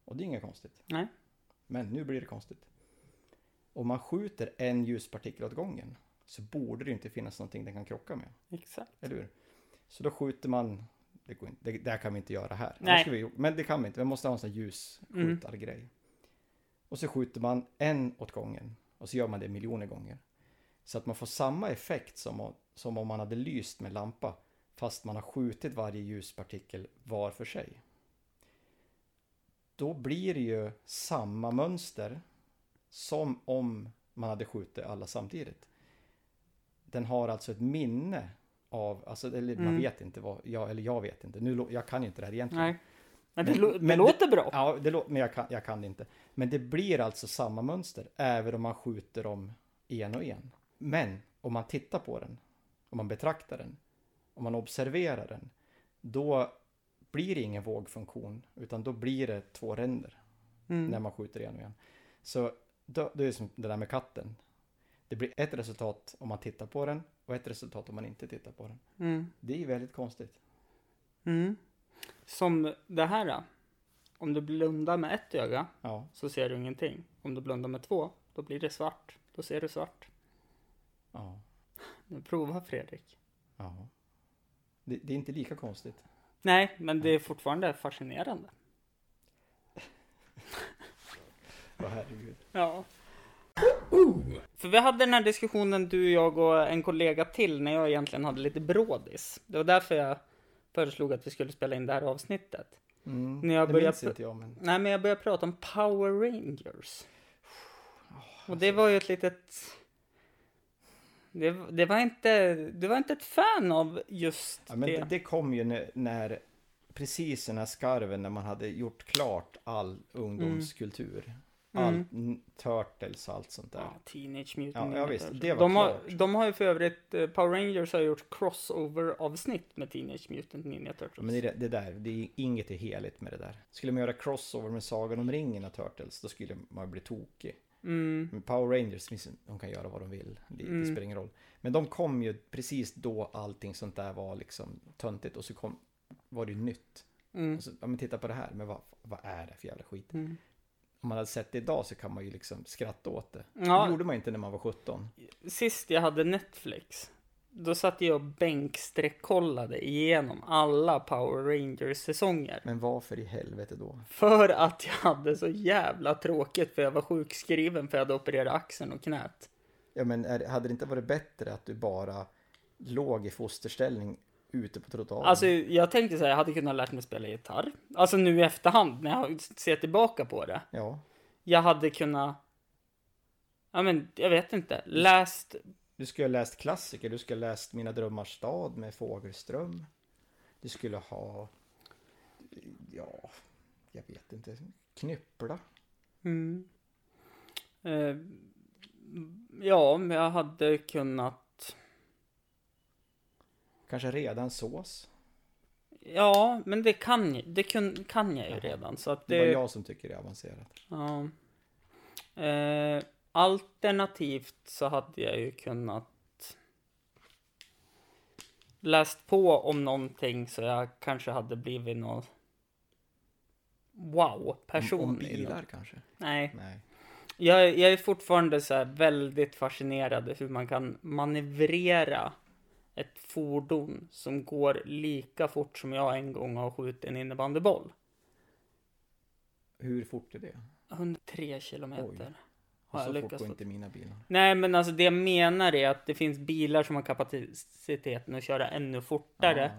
Speaker 2: Och det är inget konstigt.
Speaker 1: Nej.
Speaker 2: Men nu blir det konstigt. Om man skjuter en ljuspartikel åt gången så borde det ju inte finnas någonting den kan krocka med.
Speaker 1: Exakt.
Speaker 2: Eller hur? Så då skjuter man... Det, går inte, det, det här kan vi inte göra här.
Speaker 1: Nej.
Speaker 2: Då ska Vi, men det kan vi inte. Vi måste ha en sån här ljusskjutargrej. Och så skjuter man en åt gången. Och så gör man det miljoner gånger. Så att man får samma effekt som, om- som om man hade lyst med lampa. Fast man har skjutit varje ljuspartikel var för sig. Då blir det ju samma mönster som om man hade skjutit alla samtidigt. Den har alltså ett minne av, alltså, eller man vet inte vad, jag, eller jag vet inte, nu, lå- jag kan ju inte det här egentligen.
Speaker 1: Nej. Men det, lå- det
Speaker 2: men
Speaker 1: låter bra.
Speaker 2: Ja, det lå- men jag kan, jag kan det inte. Men det blir alltså samma mönster även om man skjuter dem en och en. Men om man tittar på den, om man betraktar den, om man observerar den, då blir det ingen vågfunktion utan då blir det två ränder
Speaker 1: Mm.
Speaker 2: när man skjuter en och en. Så då, det är som det där med katten. Det blir ett resultat om man tittar på den och ett resultat om man inte tittar på den.
Speaker 1: Mm.
Speaker 2: Det är ju väldigt konstigt.
Speaker 1: Som det här. då. Om du blundar med ett öga
Speaker 2: Ja,
Speaker 1: så ser du ingenting. Om du blundar med två, då blir det svart. Då ser du svart.
Speaker 2: ja,
Speaker 1: Nu prova Fredrik.
Speaker 2: ja. Det, det är inte lika konstigt.
Speaker 1: Nej, men det är fortfarande fascinerande.
Speaker 2: Ja, herregud.
Speaker 1: Ja. För vi hade den här diskussionen du, jag och en kollega till när jag egentligen hade lite brådis. Det var därför jag föreslog att vi skulle spela in det här avsnittet. när jag
Speaker 2: Mm. det
Speaker 1: började
Speaker 2: minns
Speaker 1: pr-
Speaker 2: inte jag, men
Speaker 1: Nej, men jag började prata om Power Rangers. Och det var ju ett litet... Det, det, var inte, det var inte ett fan av just
Speaker 2: ja, men det,
Speaker 1: det.
Speaker 2: det kom ju när, när precis den här skarven när man hade gjort klart all ungdomskultur. Allt n- Turtles och allt sånt där.
Speaker 1: Ja, Teenage Mutant
Speaker 2: Ja, ja,
Speaker 1: Ninja
Speaker 2: visst,
Speaker 1: Turtles.
Speaker 2: det var
Speaker 1: de, har,
Speaker 2: klart.
Speaker 1: de har ju för övrigt, eh, Power Rangers har gjort crossover-avsnitt med Teenage Mutant Ninja Turtles.
Speaker 2: Men det, är det- det där, det är inget är heligt med det där. Skulle man göra crossover med Sagan om ringen och Turtles, då skulle man bli tokig. Men Power Rangers, visst, de kan göra vad de vill. Det, det spelar ingen roll. Men de kom ju precis då allting sånt där var liksom töntigt och så kom, var det ju nytt. Och så, ja, men titta på det här, men vad, vad är det för jävla skit? Om man hade sett det idag så kan man ju liksom skratta åt det.
Speaker 1: Ja.
Speaker 2: Det gjorde man inte när man var 17.
Speaker 1: Sist jag hade Netflix, då satt jag och bänkstreck-kollade igenom alla Power Rangers-säsonger.
Speaker 2: Men varför i helvete då?
Speaker 1: För att jag hade så jävla tråkigt för jag var sjukskriven för jag hade opererat axeln och knät.
Speaker 2: Ja, men är, hade det inte varit bättre att du bara låg i fosterställning ute på trottoaren?
Speaker 1: Alltså jag tänkte så här, jag hade kunnat lärt mig spela gitarr. Alltså nu i efterhand när jag ser tillbaka på det.
Speaker 2: ja,
Speaker 1: Jag hade kunnat, ja men jag vet inte, läst
Speaker 2: du skulle ha läst klassiker, du skulle ha läst Mina drömmars stad med Fågelström. Du skulle ha, ja, jag vet inte, Knyppla.
Speaker 1: Eh, ja, men jag hade kunnat...
Speaker 2: Kanske redan sås.
Speaker 1: Ja, men det kan, ju- det kun, kan jag ju redan. Så att
Speaker 2: Det
Speaker 1: det...
Speaker 2: är bara jag som tycker det är avancerat.
Speaker 1: Ja. Eh, alternativt så hade jag ju kunnat läst på om någonting så jag kanske hade blivit någon wow-person.
Speaker 2: Om
Speaker 1: i något.
Speaker 2: bilar kanske?
Speaker 1: Nej.
Speaker 2: Nej.
Speaker 1: Jag, är- jag är fortfarande så här väldigt fascinerad hur man kan manövrera ett fordon som går lika fort som jag en gång har skjutit en innebandyboll.
Speaker 2: Hur fort är det?
Speaker 1: 103 kilometer. Har
Speaker 2: Så
Speaker 1: jag
Speaker 2: fort
Speaker 1: lyckats
Speaker 2: går
Speaker 1: få
Speaker 2: inte mina bilar.
Speaker 1: Nej, men alltså det jag menar är att det finns bilar som har kapaciteten att köra ännu fortare.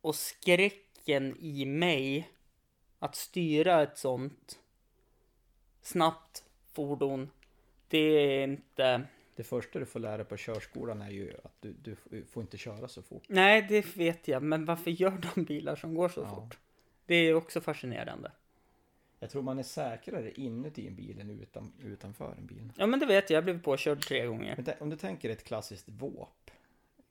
Speaker 1: Och skräck paniken i mig att styra ett sånt snabbt fordon. Det är inte...
Speaker 2: Det första du får lära på körskolan är ju att du, du får inte köra så fort.
Speaker 1: Nej, det vet jag. Men varför gör de bilar som går så
Speaker 2: Ja.
Speaker 1: fort? Det är också fascinerande.
Speaker 2: Jag tror man är säkrare inuti en bil än utan, utanför en bil.
Speaker 1: Ja, men det vet jag. Jag blev påkörd tre gånger.
Speaker 2: Men tä- om du tänker ett klassiskt våp.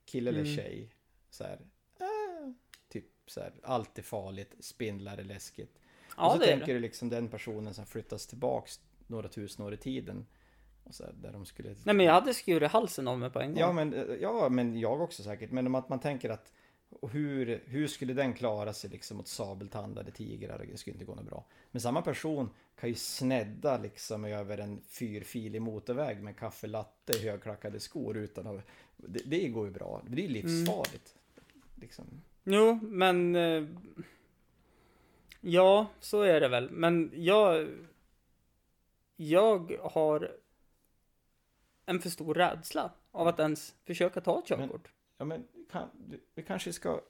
Speaker 2: Kille
Speaker 1: Mm.
Speaker 2: eller tjej. Så här, äh, typ så här, allt är farligt, spindlar är läskigt.
Speaker 1: Ja,
Speaker 2: och så
Speaker 1: det är
Speaker 2: tänker
Speaker 1: det.
Speaker 2: du liksom den personen som flyttas tillbaks några tusen år i tiden. Och så här, där de skulle...
Speaker 1: Nej, men jag hade skurit halsen av mig på en gång.
Speaker 2: Ja men, eh, ja, men jag också säkert. Men om att man tänker att och hur, hur skulle den klara sig liksom mot sabeltandade tigrar? Det skulle inte gå något bra. Men samma person kan ju snedda liksom över en fyrfilig motorväg med kaffelatte i högklackade skor utan att... Det, det går ju bra. Det är ju livsfarligt. Liksom.
Speaker 1: Jo, men... eh, Ja, så är det väl. Men jag... Jag har en för stor rädsla av att ens försöka ta ett
Speaker 2: Men-
Speaker 1: körkort.
Speaker 2: Ja men kan, du- vi kanske ska...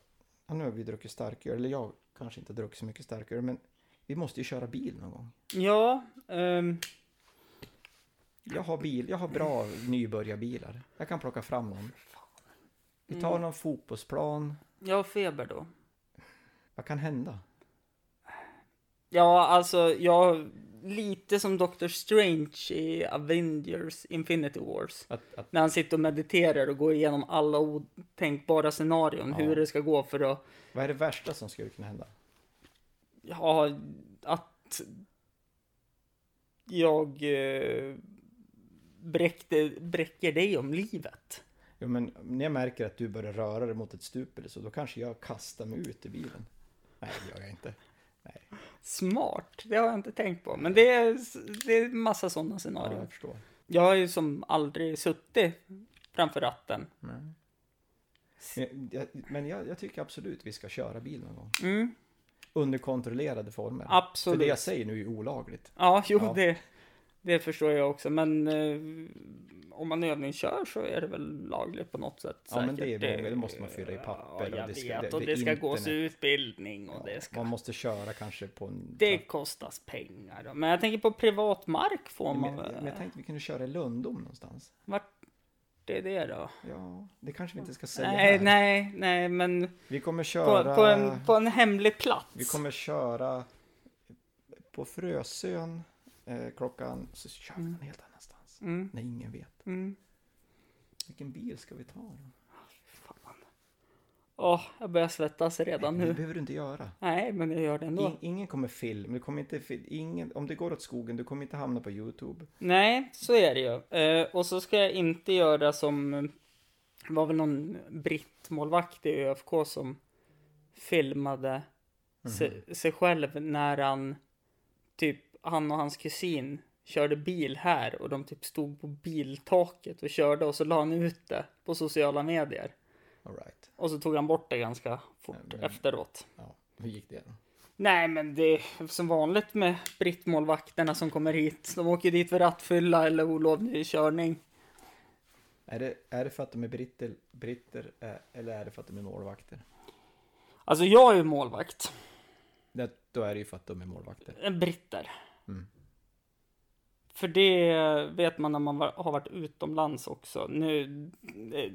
Speaker 2: Ja, nu har vi druckit starkare eller jag kanske inte har druckit så mycket starkare men vi måste ju köra bil någon gång.
Speaker 1: Ja, ehm,
Speaker 2: Jag har bil, jag har bra nybörjarbilar. Jag kan plocka fram någon. Vi
Speaker 1: Mm.
Speaker 2: tar någon fotbollsplan.
Speaker 1: jag har feber då.
Speaker 2: Vad kan hända?
Speaker 1: Ja, alltså jag... Lite som Doctor Strange i Avengers Infinity Wars.
Speaker 2: Att, att,
Speaker 1: När han sitter och mediterar och går igenom alla otänkbara scenarion. Hur det ska gå för att...
Speaker 2: vad är det värsta som skulle kunna hända?
Speaker 1: Ja, att jag eh, bräckte, bräcker dig om livet.
Speaker 2: Jo, men när jag märker att du börjar röra dig mot ett stup eller så, då kanske jag kastar mig ut i bilen. Nej, det gör jag inte.
Speaker 1: Smart, det har jag inte tänkt på. Men det är, det är massa sådana
Speaker 2: Ja,
Speaker 1: scenarion.
Speaker 2: jag förstår.
Speaker 1: Jag har ju som aldrig suttit framför ratten.
Speaker 2: Mm. Men, jag, men jag, jag tycker absolut vi ska köra bil någon gång.
Speaker 1: Mm.
Speaker 2: Under kontrollerade former.
Speaker 1: Absolut.
Speaker 2: För det jag säger nu är ju olagligt.
Speaker 1: Ja, jo,
Speaker 2: Ja.
Speaker 1: Det, det förstår jag också. Men eh, om man övningskör så är det väl lagligt på något sätt.
Speaker 2: Ja, men det är
Speaker 1: säkert. eh,
Speaker 2: många- det måste man fylla i
Speaker 1: Ja,
Speaker 2: papper och
Speaker 1: jag
Speaker 2: det ska-
Speaker 1: vet.
Speaker 2: det-
Speaker 1: Och
Speaker 2: det
Speaker 1: det,
Speaker 2: är
Speaker 1: ska gås
Speaker 2: internet.
Speaker 1: utbildning och det ska
Speaker 2: Man måste köra kanske på en...
Speaker 1: Det kostas pengar. då. Men jag tänker på privat mark får
Speaker 2: men,
Speaker 1: man
Speaker 2: jag, men
Speaker 1: väl?
Speaker 2: jag tänkte vi kunde köra i Lundom någonstans.
Speaker 1: Vart är det då?
Speaker 2: Ja, det kanske vi inte ska säga
Speaker 1: Nej,
Speaker 2: här.
Speaker 1: nej, nej, men
Speaker 2: Vi kommer
Speaker 1: på,
Speaker 2: köra...
Speaker 1: på, en, på en hemlig plats.
Speaker 2: Vi kommer köra på Frösön eh, klockan, så kör vi någon helt annanstans.
Speaker 1: Mm.
Speaker 2: När ingen vet.
Speaker 1: Mm.
Speaker 2: Vilken bil ska vi ta då?
Speaker 1: Fan. Åh, jag börjar svettas redan
Speaker 2: Det
Speaker 1: nu.
Speaker 2: behöver du inte göra.
Speaker 1: Nej, men jag gör det ändå.
Speaker 2: In, ingen kommer film, du kommer inte, fil- ingen, om det går åt skogen, du kommer inte hamna på Youtube.
Speaker 1: Nej, så är det ju. Eh, och så ska jag inte göra som... eh, var väl någon brittmålvakt i ÖFK som filmade
Speaker 2: Mhm.
Speaker 1: se, sig själv när han... Typ han och hans kusin körde bil här och de typ stod på biltaket och körde och så la han ut det på sociala medier.
Speaker 2: All right.
Speaker 1: Och så tog han bort det ganska fort
Speaker 2: Nej, men-
Speaker 1: efteråt.
Speaker 2: Ja, hur gick det då?
Speaker 1: Nej men det är som vanligt med brittmålvakterna som kommer hit. De åker dit för rattfylla eller olovlig körning.
Speaker 2: Är det, är det för att de är britter, britter eh, eller är det för att de är målvakter?
Speaker 1: Alltså jag är ju målvakt.
Speaker 2: Det, då är det ju för att de är målvakter.
Speaker 1: En britter.
Speaker 2: Mm.
Speaker 1: För det vet man när man var- har varit utomlands också. Nu,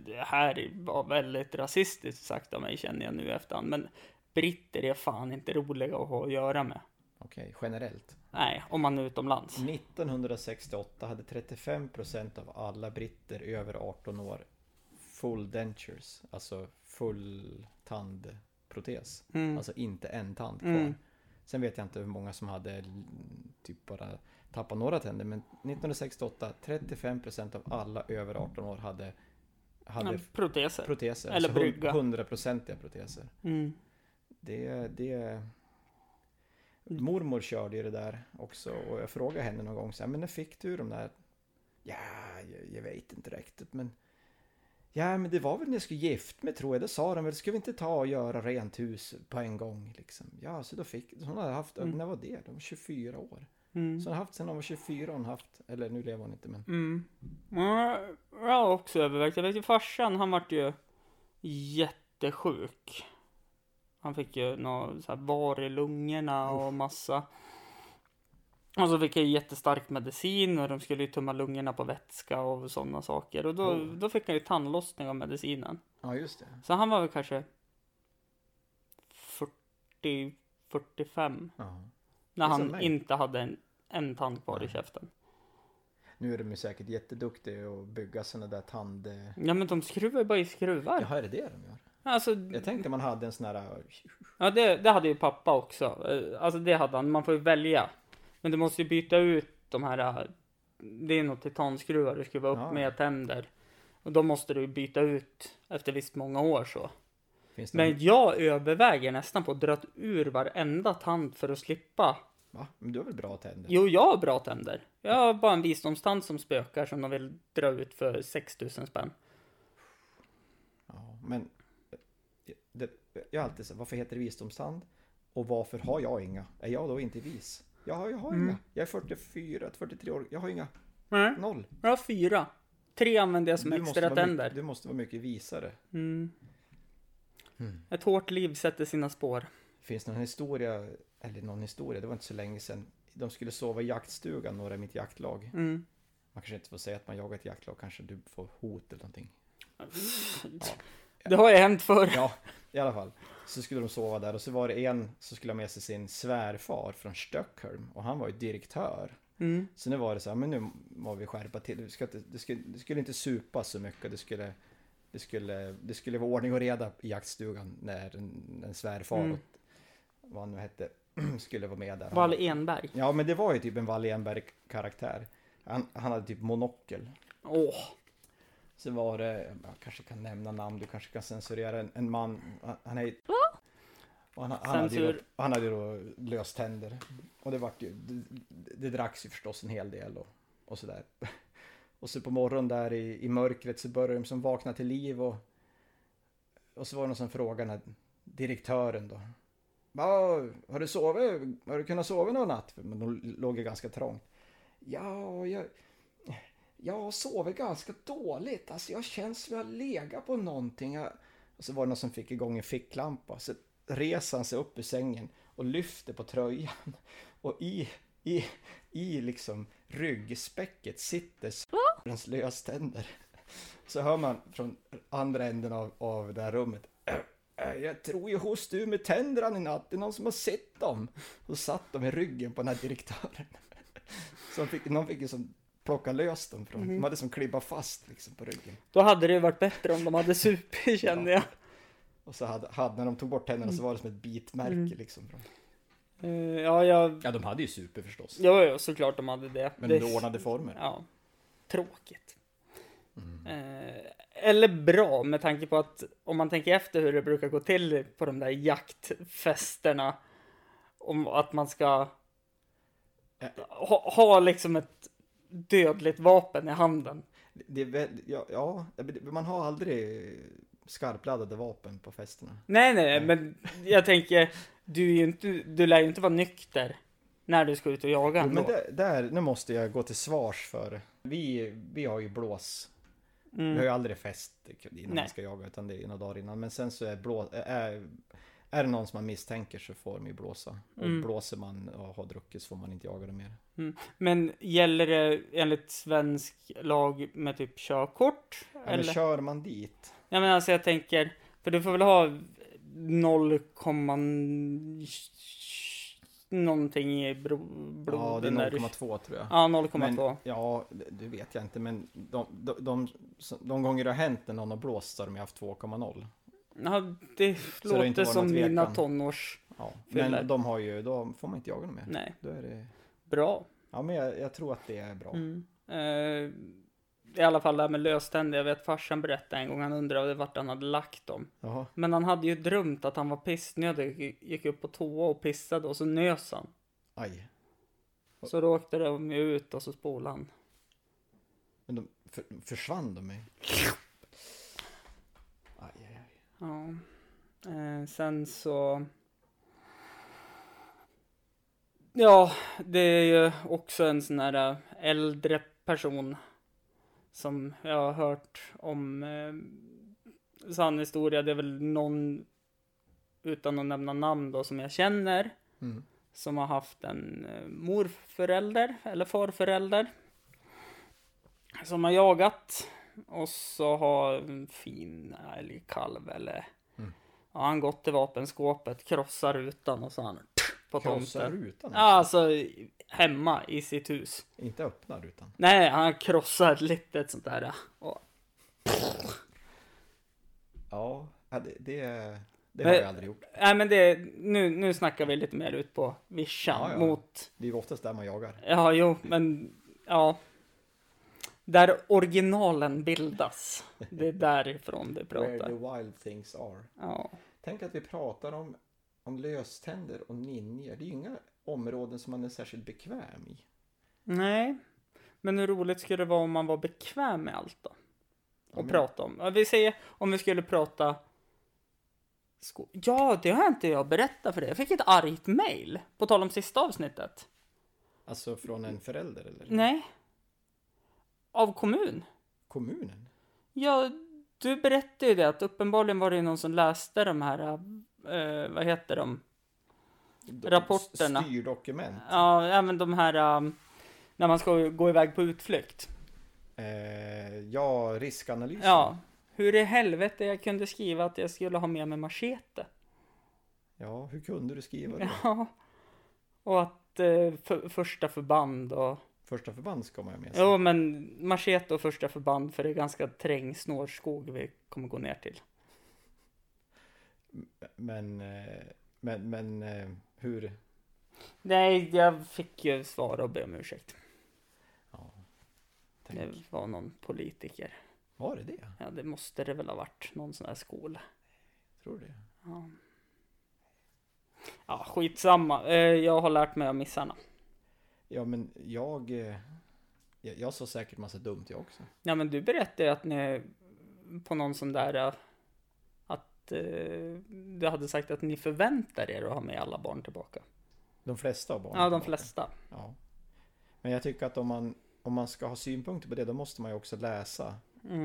Speaker 1: det här var väldigt rasistiskt sagt av mig känner jag nu i efterhand. Men britter är fan inte roliga att ha att göra med.
Speaker 2: Okej, generellt.
Speaker 1: Nej, om man är utomlands.
Speaker 2: 1968 hade 35% av alla britter över 18 år full dentures, alltså full tandprotes. Alltså inte en tand kvar. Sen vet jag inte hur många som hade l- typ bara tappat några tänder, men 1968 35% av alla över 18 år hade, hade
Speaker 1: Ja, proteser.
Speaker 2: proteser.
Speaker 1: Eller
Speaker 2: alltså hun-
Speaker 1: brygga. Mm.
Speaker 2: Hundraprocentiga proteser. Det, det... Mormor körde ju det där också och jag frågade henne någon gång så här, men när fick du de där? Ja, jag, jag vet inte riktigt men... Ja, men det var väl när jag skulle gift mig tror jag, det sa de väl, ska vi inte ta och göra rent hus på en gång liksom? Ja, så då fick, hon hade haft,
Speaker 1: Mm.
Speaker 2: när var det? De var 24 år. Så hon har haft sen hon var 24, hon har haft, eller nu lever hon inte men...
Speaker 1: Mm. Ja, jag har också övervägt. Jag vet ju farsan, han vart ju jättesjuk. Han fick ju någon så här var i lungorna och massa. Och så fick jag ju jättestark medicin och de skulle ju tömma lungorna på vätska och sådana saker. Och då, då fick han ju tandlossning av medicinen.
Speaker 2: Ja, just det.
Speaker 1: Så han var väl kanske 40, 45
Speaker 2: Ja.
Speaker 1: när
Speaker 2: Det är som
Speaker 1: han
Speaker 2: mig.
Speaker 1: inte hade en, en tand kvar i käften.
Speaker 2: Nu är de ju säkert jätteduktiga att bygga såna där tand...
Speaker 1: Ja men de skruvar ju bara i skruvar.
Speaker 2: Jaha, är det det de gör?
Speaker 1: Alltså,
Speaker 2: Jag tänkte man hade en sån här... äh,
Speaker 1: ja, det, det hade ju pappa också. Eh, Alltså det hade han, man får ju välja. Men du måste ju byta ut de här, eh, det är nog titanskruvar du skruvar upp
Speaker 2: Ja.
Speaker 1: med tänder. Och då måste du ju byta ut efter visst många år så.
Speaker 2: Finns det
Speaker 1: Men jag överväger nästan på att dra ur varenda tand för att slippa
Speaker 2: Va? Men du har väl bra tänder?
Speaker 1: Jo, jag har bra tänder. Jag har bara en visdomstand som spökar som de vill dra ut för 6000 spänn.
Speaker 2: Ja, men... Det, jag har alltid sagt, varför heter det visdomstand? Och varför har jag inga? Är jag då inte vis? Jag har, jag har
Speaker 1: Mm.
Speaker 2: inga. Jag är 44, 43 år. Jag har inga.
Speaker 1: Nej,
Speaker 2: Noll.
Speaker 1: jag har fyra. Tre använder jag som
Speaker 2: måste
Speaker 1: extra
Speaker 2: vara
Speaker 1: tänder.
Speaker 2: mycket, Mm. du måste vara mycket visare.
Speaker 1: Ett hårt liv sätter sina spår.
Speaker 2: Finns det någon historia, eller någon historia, det var inte så länge sedan. De skulle sova i jaktstugan, några i mitt jaktlag. Man kanske inte får säga att man jagar ett jaktlag, kanske du får hot eller någonting.
Speaker 1: Det har ju hänt förr.
Speaker 2: Ja, i alla fall. Så skulle de sova där och så var det en som skulle ha med sig sin svärfar från Stockholm och han var ju direktör. Så nu var det så här, men nu må vi skärpa till. Du, ska inte, du, skulle, du skulle inte supa så mycket. Du skulle, det, skulle, det skulle vara ordning och reda i jaktstugan när en, en svärfar, och vad han nu hette, [CLEARS THROAT] skulle vara med där.
Speaker 1: Val Enberg.
Speaker 2: Ja, men det var ju typ en Wallenberg-karaktär. Han, han hade typ monokel.
Speaker 1: Åh,
Speaker 2: Så var det, jag kanske kan nämna namn, du kanske kan censurera en, en man. Han- Han är och han, han, hade ju då,
Speaker 1: Censur.
Speaker 2: han hade ju då löständer. Och det, vart ju, det, det dracks ju förstås en hel del och, och sådär. Och så på morgonen där i, i mörkret så började de som vakna till liv och, och så var det någon som frågade den här direktören då. "Ja, Har du sovit? Har du kunnat sova någon natt? Men de låg ju ganska trångt. Ja, jag, jag sover ganska dåligt. Alltså jag känns som jag legat på någonting. Jag... Och så var det någon som fick igång en ficklampa. Så reser han sig upp ur sängen och lyfter på tröjan. [LAUGHS] Och i, i, i liksom ryggspäcket sitter hans löständer. Så hör man från andra änden av, av det här rummet. [CLEARS THROAT] "Äh, Jag tror jag host ur med tänderna i natt. Det är någon som har sett dem. Och satt de i ryggen på den här direktören. [LAUGHS] Så de fick, någon fick ju som plocka lös dem från,
Speaker 1: Mhm.
Speaker 2: de hade som klibba fast liksom på ryggen.
Speaker 1: då hade det ju varit bättre om de hade supit känner jag.
Speaker 2: Och så hade, hade när de tog bort tänderna
Speaker 1: Mm.
Speaker 2: så var det som ett bitmärke liksom. Från.
Speaker 1: Eh, ja, jag...
Speaker 2: Ja, de hade ju super förstås.
Speaker 1: Ja, ja, såklart de hade det.
Speaker 2: Men
Speaker 1: det...
Speaker 2: under ordnade former.
Speaker 1: Ja. Tråkigt.
Speaker 2: Mm.
Speaker 1: Eh, eller bra med tanke på att om man tänker efter hur det brukar gå till på de där jaktfesterna. Om att man ska ha, ha liksom ett dödligt vapen i handen.
Speaker 2: Det är väl, ja, ja, men man har aldrig skarpladdade vapen på festerna.
Speaker 1: Nej, nej, men jag tänker du, är ju inte, du lär ju inte vara nykter när du ska ut och jaga.
Speaker 2: Men
Speaker 1: ändå.
Speaker 2: där, där, nu måste jag gå till svars för vi, vi har ju blås. Vi har ju aldrig fest innan
Speaker 1: Mm. Nej.
Speaker 2: vi ska jaga utan det är några dagar innan. Men sen så är blå, är, är det någon som man misstänker så får de ju blåsa. Och
Speaker 1: Mm.
Speaker 2: blåser man och har druckit så får man inte jaga dem mer.
Speaker 1: Men gäller det enligt svensk lag med typ körkort?
Speaker 2: Ja, men kör man dit.
Speaker 1: Ja men alltså jag tänker, för du får väl ha 0, någonting i bro, bro,
Speaker 2: Ja, det är
Speaker 1: den där-
Speaker 2: 0,2 tror jag.
Speaker 1: Ja,
Speaker 2: Men,
Speaker 1: 0,2.
Speaker 2: ja, det- det vet jag inte, men de, de, de, de gånger det har hänt när någon har blåst så har de ju haft 2,0.
Speaker 1: Ja, det
Speaker 2: det har
Speaker 1: låter
Speaker 2: inte varit
Speaker 1: som
Speaker 2: någon
Speaker 1: mina
Speaker 2: tvekan.
Speaker 1: tonårs.
Speaker 2: Ja,
Speaker 1: Fyller.
Speaker 2: men de har ju, då får man inte jaga dem mer.
Speaker 1: Nej,
Speaker 2: Då är det,
Speaker 1: bra.
Speaker 2: ja, men jag, jag tror att det är bra.
Speaker 1: Eh, I alla fall det här med löständer. Jag vet farsan berättade en gång, han undrade vart han hade lagt dem.
Speaker 2: Jaha.
Speaker 1: Men han hade ju drömt att han var pissnödig, gick upp på toa och pissade och så nös han.
Speaker 2: Aj.
Speaker 1: Så då åkte de ju ut och så spolade han.
Speaker 2: Men de för, försvann de mig. Aj, aj, aj.
Speaker 1: Ja. Eh, sen så... Ja, det är ju också en sån här eh, äldre person som jag har äh, hört om eh, sann historia. Det är väl någon utan att nämna namn då, som jag känner.
Speaker 2: Mm.
Speaker 1: Som har haft en eh, morförälder eller farförälder. Som har jagat. Och så har en fin älgkalv eller...
Speaker 2: Mm.
Speaker 1: Ja, han gått till vapenskåpet, krossar rutan och så har han på
Speaker 2: Krossar
Speaker 1: tomten.
Speaker 2: rutan?
Speaker 1: Ja, alltså hemma i sitt hus.
Speaker 2: Inte öppna rutan?
Speaker 1: Nej, han krossar ett litet sånt där. Och,
Speaker 2: Ja, ja, det, det, det har
Speaker 1: Men-
Speaker 2: jag aldrig gjort.
Speaker 1: nej, men det, nu, nu snackar vi lite mer ut på vischan
Speaker 2: Ja, ja.
Speaker 1: mot
Speaker 2: Det är ju oftast där man jagar.
Speaker 1: Ja, jo, men ja. Där originalen bildas. Det
Speaker 2: [LAUGHS]
Speaker 1: är därifrån det
Speaker 2: Where the
Speaker 1: pratar.
Speaker 2: wild things are.
Speaker 1: Ja.
Speaker 2: Tänk att vi pratar om, om löständer och ninjor. Det är ju inga områden som man är särskilt bekväm i.
Speaker 1: Nej. Men hur roligt skulle det vara om man var bekväm med allt då? Och
Speaker 2: men-
Speaker 1: prata om. Ja, Vi säger om vi skulle prata. sko- Ja, det har inte jag berättat för dig. Jag fick ett argt mail. På tal om sista avsnittet.
Speaker 2: Alltså från en förälder eller
Speaker 1: Nej. Av kommun.
Speaker 2: kommunen?
Speaker 1: Ja, du berättade ju det att uppenbarligen var det ju någon som läste de här, eh, vad heter de?
Speaker 2: De-
Speaker 1: Rapporterna.
Speaker 2: Styrdokument.
Speaker 1: Ja, även de här ehm, när man ska gå iväg på utflykt.
Speaker 2: Eh, ja, riskanalysen.
Speaker 1: Ja, hur i helvete jag kunde skriva att jag skulle ha med mig machete. [LAUGHS]
Speaker 2: Ja, hur kunde du skriva det?
Speaker 1: Ja, och att eh, för, första förband och...
Speaker 2: Första förband ska man ju ha med sig.
Speaker 1: Jo, men machete och första förband för det är ganska träng snårskog vi kommer gå ner till.
Speaker 2: Men, eh, men, men eh, hur?
Speaker 1: Nej, jag fick ju svara och be om ursäkt.
Speaker 2: Ja, tänk.
Speaker 1: Det var någon politiker.
Speaker 2: Var det det?
Speaker 1: Ja, det måste det väl ha varit. Någon sån här skola.
Speaker 2: Tror du det?
Speaker 1: Ja, skitsamma. Eh, Jag har lärt mig av missarna.
Speaker 2: Ja, men jag... eh, Jag, jag sa säkert massa dumt jag också.
Speaker 1: Ja, men du berättade ju att ni på någon sån där eh, att eh, du hade sagt att ni förväntar er att ha med alla barn tillbaka.
Speaker 2: De flesta av barnen.
Speaker 1: Ja, de flesta.
Speaker 2: Ja. Men jag tycker att om man, om man ska ha synpunkter på det, då måste man ju också läsa.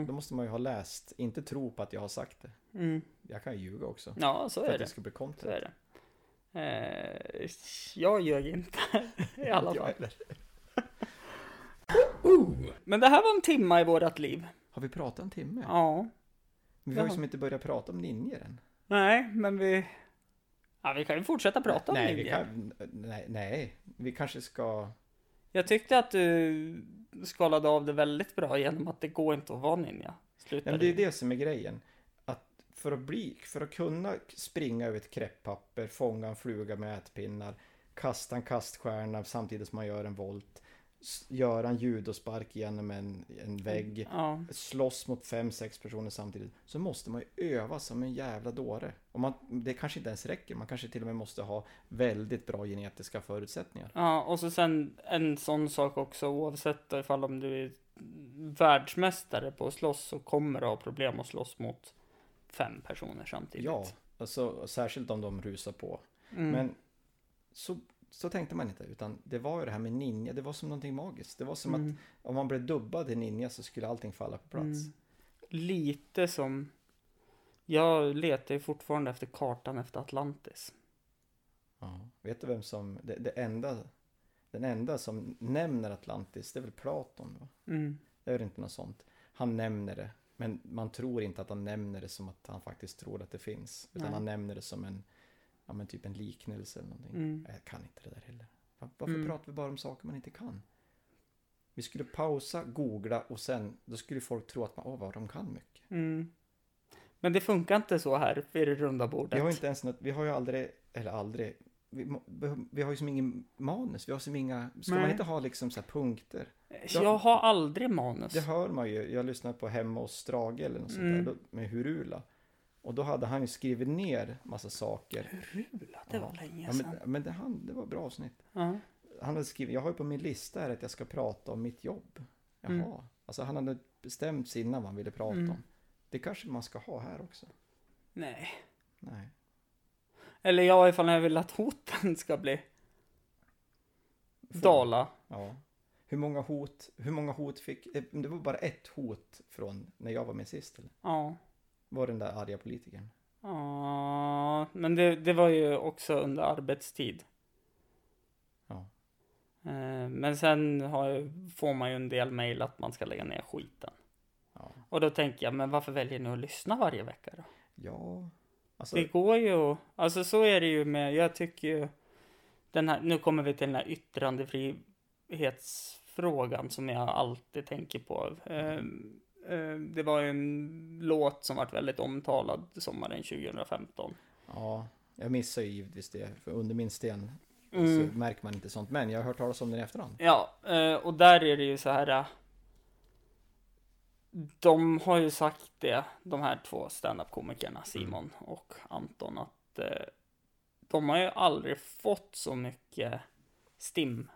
Speaker 2: Då måste man ju ha läst, inte tro på att jag har sagt det.
Speaker 1: Mm.
Speaker 2: Jag kan ju ljuga också.
Speaker 1: Ja, så
Speaker 2: för
Speaker 1: är
Speaker 2: att det
Speaker 1: det.
Speaker 2: ska bli
Speaker 1: Så
Speaker 2: content.
Speaker 1: är det. Eh, jag ljög inte [LAUGHS] i alla
Speaker 2: Jag
Speaker 1: fall.
Speaker 2: heller.
Speaker 1: Men det här var en timma i vårat liv.
Speaker 2: Har vi pratat en timme?
Speaker 1: Ja.
Speaker 2: Men vi har ju
Speaker 1: Jaha.
Speaker 2: som inte börjat prata om ninjor än.
Speaker 1: Nej, men vi... Ja, vi kan ju fortsätta prata om
Speaker 2: nej,
Speaker 1: det.
Speaker 2: vi kan, nej, nej, vi kanske ska...
Speaker 1: Jag tyckte att du skalade av det väldigt bra genom att det går inte att vara ninja. Sluta
Speaker 2: Nej, men det är det som är grejen. Att för att, bli, för att kunna springa över ett kräpppapper, fånga en fluga med ätpinnar, kasta en kaststjärna samtidigt som man gör en volt, s- göra en judospark genom en, en vägg,
Speaker 1: Mm, Ja.
Speaker 2: slåss mot fem, sex personer samtidigt, så måste man ju öva som en jävla dåre. Och man, det kanske inte ens räcker, man kanske till och med måste ha väldigt bra genetiska förutsättningar.
Speaker 1: Ja, och så sen en sån sak också oavsett ifall om du är världsmästare på att slåss så kommer du ha problem att slåss mot fem personer samtidigt.
Speaker 2: Ja, alltså, särskilt om de rusar på. Men så, så tänkte man inte, utan det var ju det här med ninja, det var som någonting magiskt. Det var som att om man blev dubbad till ninja så skulle allting falla på plats.
Speaker 1: Lite som... Jag letar ju fortfarande efter kartan efter Atlantis.
Speaker 2: Ja. Vet du vem som, det, det enda, den enda som nämner Atlantis, det är väl Platon? Va?
Speaker 1: Mm.
Speaker 2: Det är väl inte något sånt. Han nämner det, men man tror inte att han nämner det som att han faktiskt tror att det finns. Utan
Speaker 1: Nej.
Speaker 2: han nämner det som en, ja men typ en liknelse eller någonting.
Speaker 1: Mm.
Speaker 2: Jag kan inte det där heller. Va- Varför pratar vi bara om saker man inte kan? Vi skulle pausa, googla och sen, då skulle folk tro att man, åh vad de kan mycket.
Speaker 1: Mm. Men det funkar inte så här vid det runda bordet.
Speaker 2: Vi har ju inte ens något, vi har ju aldrig, eller aldrig, vi, må- vi- vi har ju som ingen manus, vi har som inga, ska man
Speaker 1: Nej.
Speaker 2: inte ha liksom så här punkter?
Speaker 1: Jag har aldrig manus.
Speaker 2: Det hör man ju. Jag lyssnade på Hemma hos Strage eller något sånt där då- med Hurula. Och då hade han ju skrivit ner massa saker.
Speaker 1: Rula, det var länge
Speaker 2: Ja,
Speaker 1: sedan.
Speaker 2: men men det, han, det var ett bra avsnitt.
Speaker 1: Ja.
Speaker 2: Han hade skrivit, jag har ju på min lista här att jag ska prata om mitt jobb. Jaha. Alltså han hade bestämt sig innan vad han ville prata om. Det kanske man ska ha här också.
Speaker 1: Nej.
Speaker 2: Nej.
Speaker 1: Eller jag ifall jag vill att hoten ska bli... Dala.
Speaker 2: Ja. Hur många hot, hur många hot fick, eh, det var bara ett hot från när jag var med sist eller?
Speaker 1: Ja.
Speaker 2: Var den där arga politikern?
Speaker 1: Ja, men det, det var ju också under arbetstid.
Speaker 2: Ja.
Speaker 1: Eh, Men sen har, jag- får man ju en del mejl att man ska lägga ner skiten.
Speaker 2: Ja.
Speaker 1: Och då tänker jag, men varför väljer ni att lyssna varje vecka då?
Speaker 2: Ja. Alltså,
Speaker 1: Det går ju, alltså så är det ju med, jag tycker ju den här, nu kommer vi till den här yttrandefrihetsfrågan som jag alltid tänker på. Ehm, ehm, Det var ju en låt som vart väldigt omtalad sommaren 2015.
Speaker 2: ja. Jag missar ju givetvis det, för under min sten
Speaker 1: Mm.
Speaker 2: så märker man inte sånt. Men jag har hört talas om den i efterhand.
Speaker 1: Ja, eh, och där är det ju så här. eh, De har ju sagt det, de här två standup-komikerna, Simon och Anton, att eh, de har ju aldrig fått så mycket STIM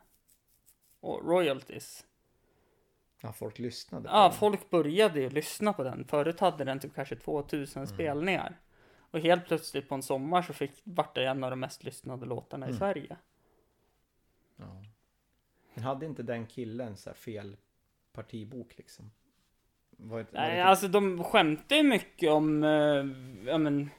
Speaker 1: och royalties.
Speaker 2: Ja, folk lyssnade. på
Speaker 1: Ja,
Speaker 2: den.
Speaker 1: folk började ju lyssna på den. Förut hade den typ kanske 2000 spelningar. Och helt plötsligt på en sommar så fick, vart det en av de mest lyssnade låtarna i Sverige.
Speaker 2: Ja. Men hade inte den killen så här fel partibok liksom? Var, det- var
Speaker 1: Nej,
Speaker 2: det-
Speaker 1: alltså de skämtar ju mycket om, eh, ja men,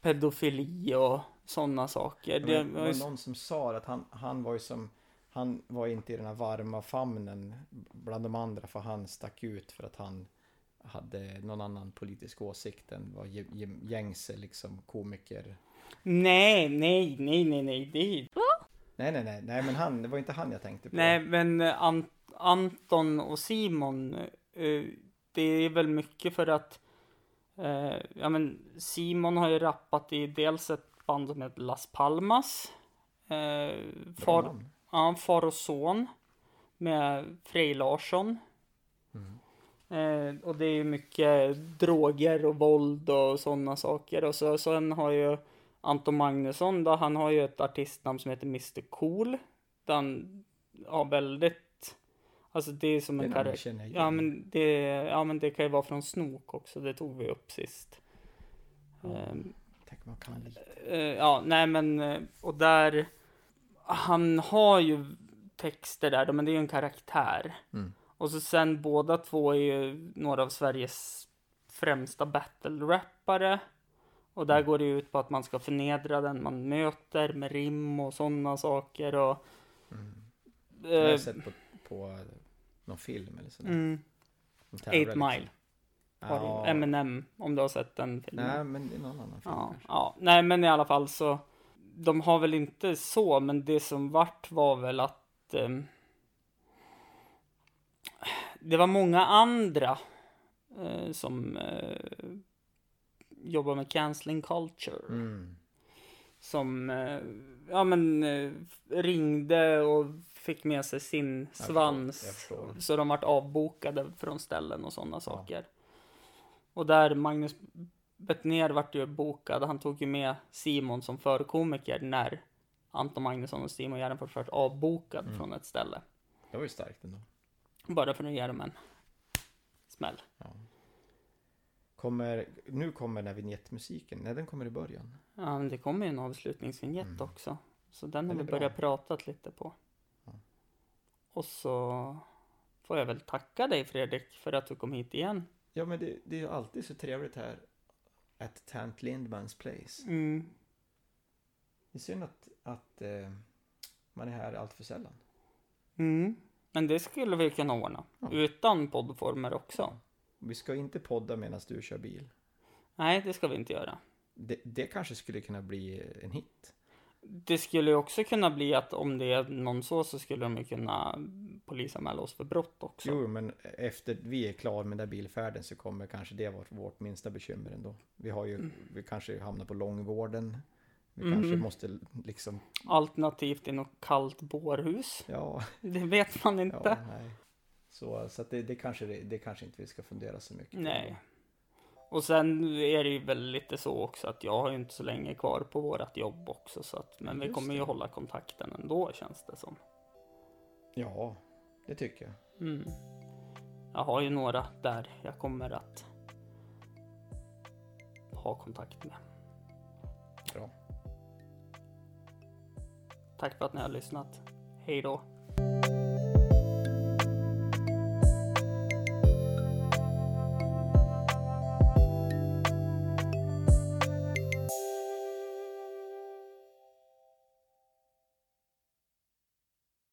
Speaker 1: pedofili och sådana saker.
Speaker 2: Ja,
Speaker 1: det
Speaker 2: men, det
Speaker 1: var ju
Speaker 2: typ- var
Speaker 1: s-
Speaker 2: någon som sa att han, han var ju som han var inte i den här varma famnen bland de andra för han stack ut för att han hade någon annan politisk åsikt än vad gäng- gäng- gängse liksom komiker.
Speaker 1: Nej, nej, nej, nej, nej, det...
Speaker 2: Nej, nej, nej, nej, men han, det var inte han jag tänkte på.
Speaker 1: Nej, men eh, Ant- Anton och Simon, eh, det är väl mycket för att, eh, ja men, Simon har ju rappat i dels ett band som heter Las Palmas, eh,
Speaker 2: Bra
Speaker 1: far,
Speaker 2: namn.
Speaker 1: Ja, far och son med Frej Larsson.
Speaker 2: Mm.
Speaker 1: Eh, och det är ju mycket droger och våld och sådana saker. Och så, sen har ju Anton Magnusson då, han har ju ett artistnamn som heter Mr Cool. Den har väldigt, alltså det är som
Speaker 2: Det
Speaker 1: en
Speaker 2: namnet
Speaker 1: karaktär.
Speaker 2: känner jag igen.
Speaker 1: Ja men, det, ja men det kan ju vara från Snook också, det tog vi upp sist. Ehm,
Speaker 2: Tänk man kan lite.
Speaker 1: Eh, ja, nej men, eh, och där, han har ju texter där, men det är ju en karaktär.
Speaker 2: Mm.
Speaker 1: Och så sen båda två är ju några av Sveriges främsta battle-rappare. Och
Speaker 2: Mm.
Speaker 1: där går det ju ut på att man ska förnedra den man möter med rim och sådana saker och...
Speaker 2: Mm. Det har
Speaker 1: Eh,
Speaker 2: jag sett på, på någon film eller sådär.
Speaker 1: mm,
Speaker 2: De tävlar
Speaker 1: Eight
Speaker 2: liksom.
Speaker 1: Mile har du,
Speaker 2: Ja.
Speaker 1: Eminem, om du har sett den filmen.
Speaker 2: Nej, men det är någon annan film
Speaker 1: Ja,
Speaker 2: kanske.
Speaker 1: ja, nej men i alla fall så. De har väl inte så, men det som vart var väl att. ehm, det var många andra eh, som eh, jobbar med canceling culture.
Speaker 2: Mm.
Speaker 1: Som eh, ja, men, eh, ringde och fick med sig sin
Speaker 2: förstår,
Speaker 1: svans.
Speaker 2: jag förstår.
Speaker 1: Så de vart avbokade från ställen och sådana saker. Och där Magnus Bettner vart ju bokad. Han tog ju med Simon som förkomiker när Anton Magnusson och Simon Gärdenfors vart avbokad
Speaker 2: Mm.
Speaker 1: från ett ställe.
Speaker 2: Det var ju starkt ändå.
Speaker 1: Bara för att ge dem en smäll.
Speaker 2: Kommer, nu kommer den här vignettmusiken. Nej, den kommer i början.
Speaker 1: Ja, men det kommer ju en avslutningsvinjett också. Så den har
Speaker 2: Den
Speaker 1: vi
Speaker 2: Mm. är bra.
Speaker 1: börjat prata lite på. Och så får jag väl tacka dig Fredrik för att du kom hit igen.
Speaker 2: Ja, men det, det är ju alltid så trevligt här. At Tant Lindmans place.
Speaker 1: Mm.
Speaker 2: Det är synd att, att eh, man är här allt för sällan.
Speaker 1: Mm. Men det skulle vi kunna ordna. Utan poddformer också.
Speaker 2: Vi ska inte podda medan du kör bil.
Speaker 1: Nej, det ska vi inte göra.
Speaker 2: Det, det kanske skulle kunna bli en hit.
Speaker 1: Det skulle ju också kunna bli att om det är någon så så skulle de ju kunna polisanmäla oss för brott också.
Speaker 2: Jo, men efter vi är klar med den där bilfärden så kommer kanske det vara vårt minsta bekymmer ändå. Vi har ju, vi kanske hamnar på långvården. Vi kanske måste liksom,
Speaker 1: Alternativt i något kallt bårhus. [LAUGHS]
Speaker 2: ja.
Speaker 1: Det vet man inte.
Speaker 2: Ja, nej. Så, så att det, det, kanske, det kanske inte vi ska fundera så mycket på.
Speaker 1: Nej. Och sen är det ju väl lite så också att jag har ju inte så länge kvar på vårat jobb också. Så att, men vi
Speaker 2: Just
Speaker 1: kommer ju
Speaker 2: det.
Speaker 1: hålla kontakten ändå känns det som.
Speaker 2: Ja, det tycker jag.
Speaker 1: Mm. Jag har ju några där jag kommer att ha kontakt med.
Speaker 2: Bra.
Speaker 1: Tack för att ni har lyssnat. Hej då.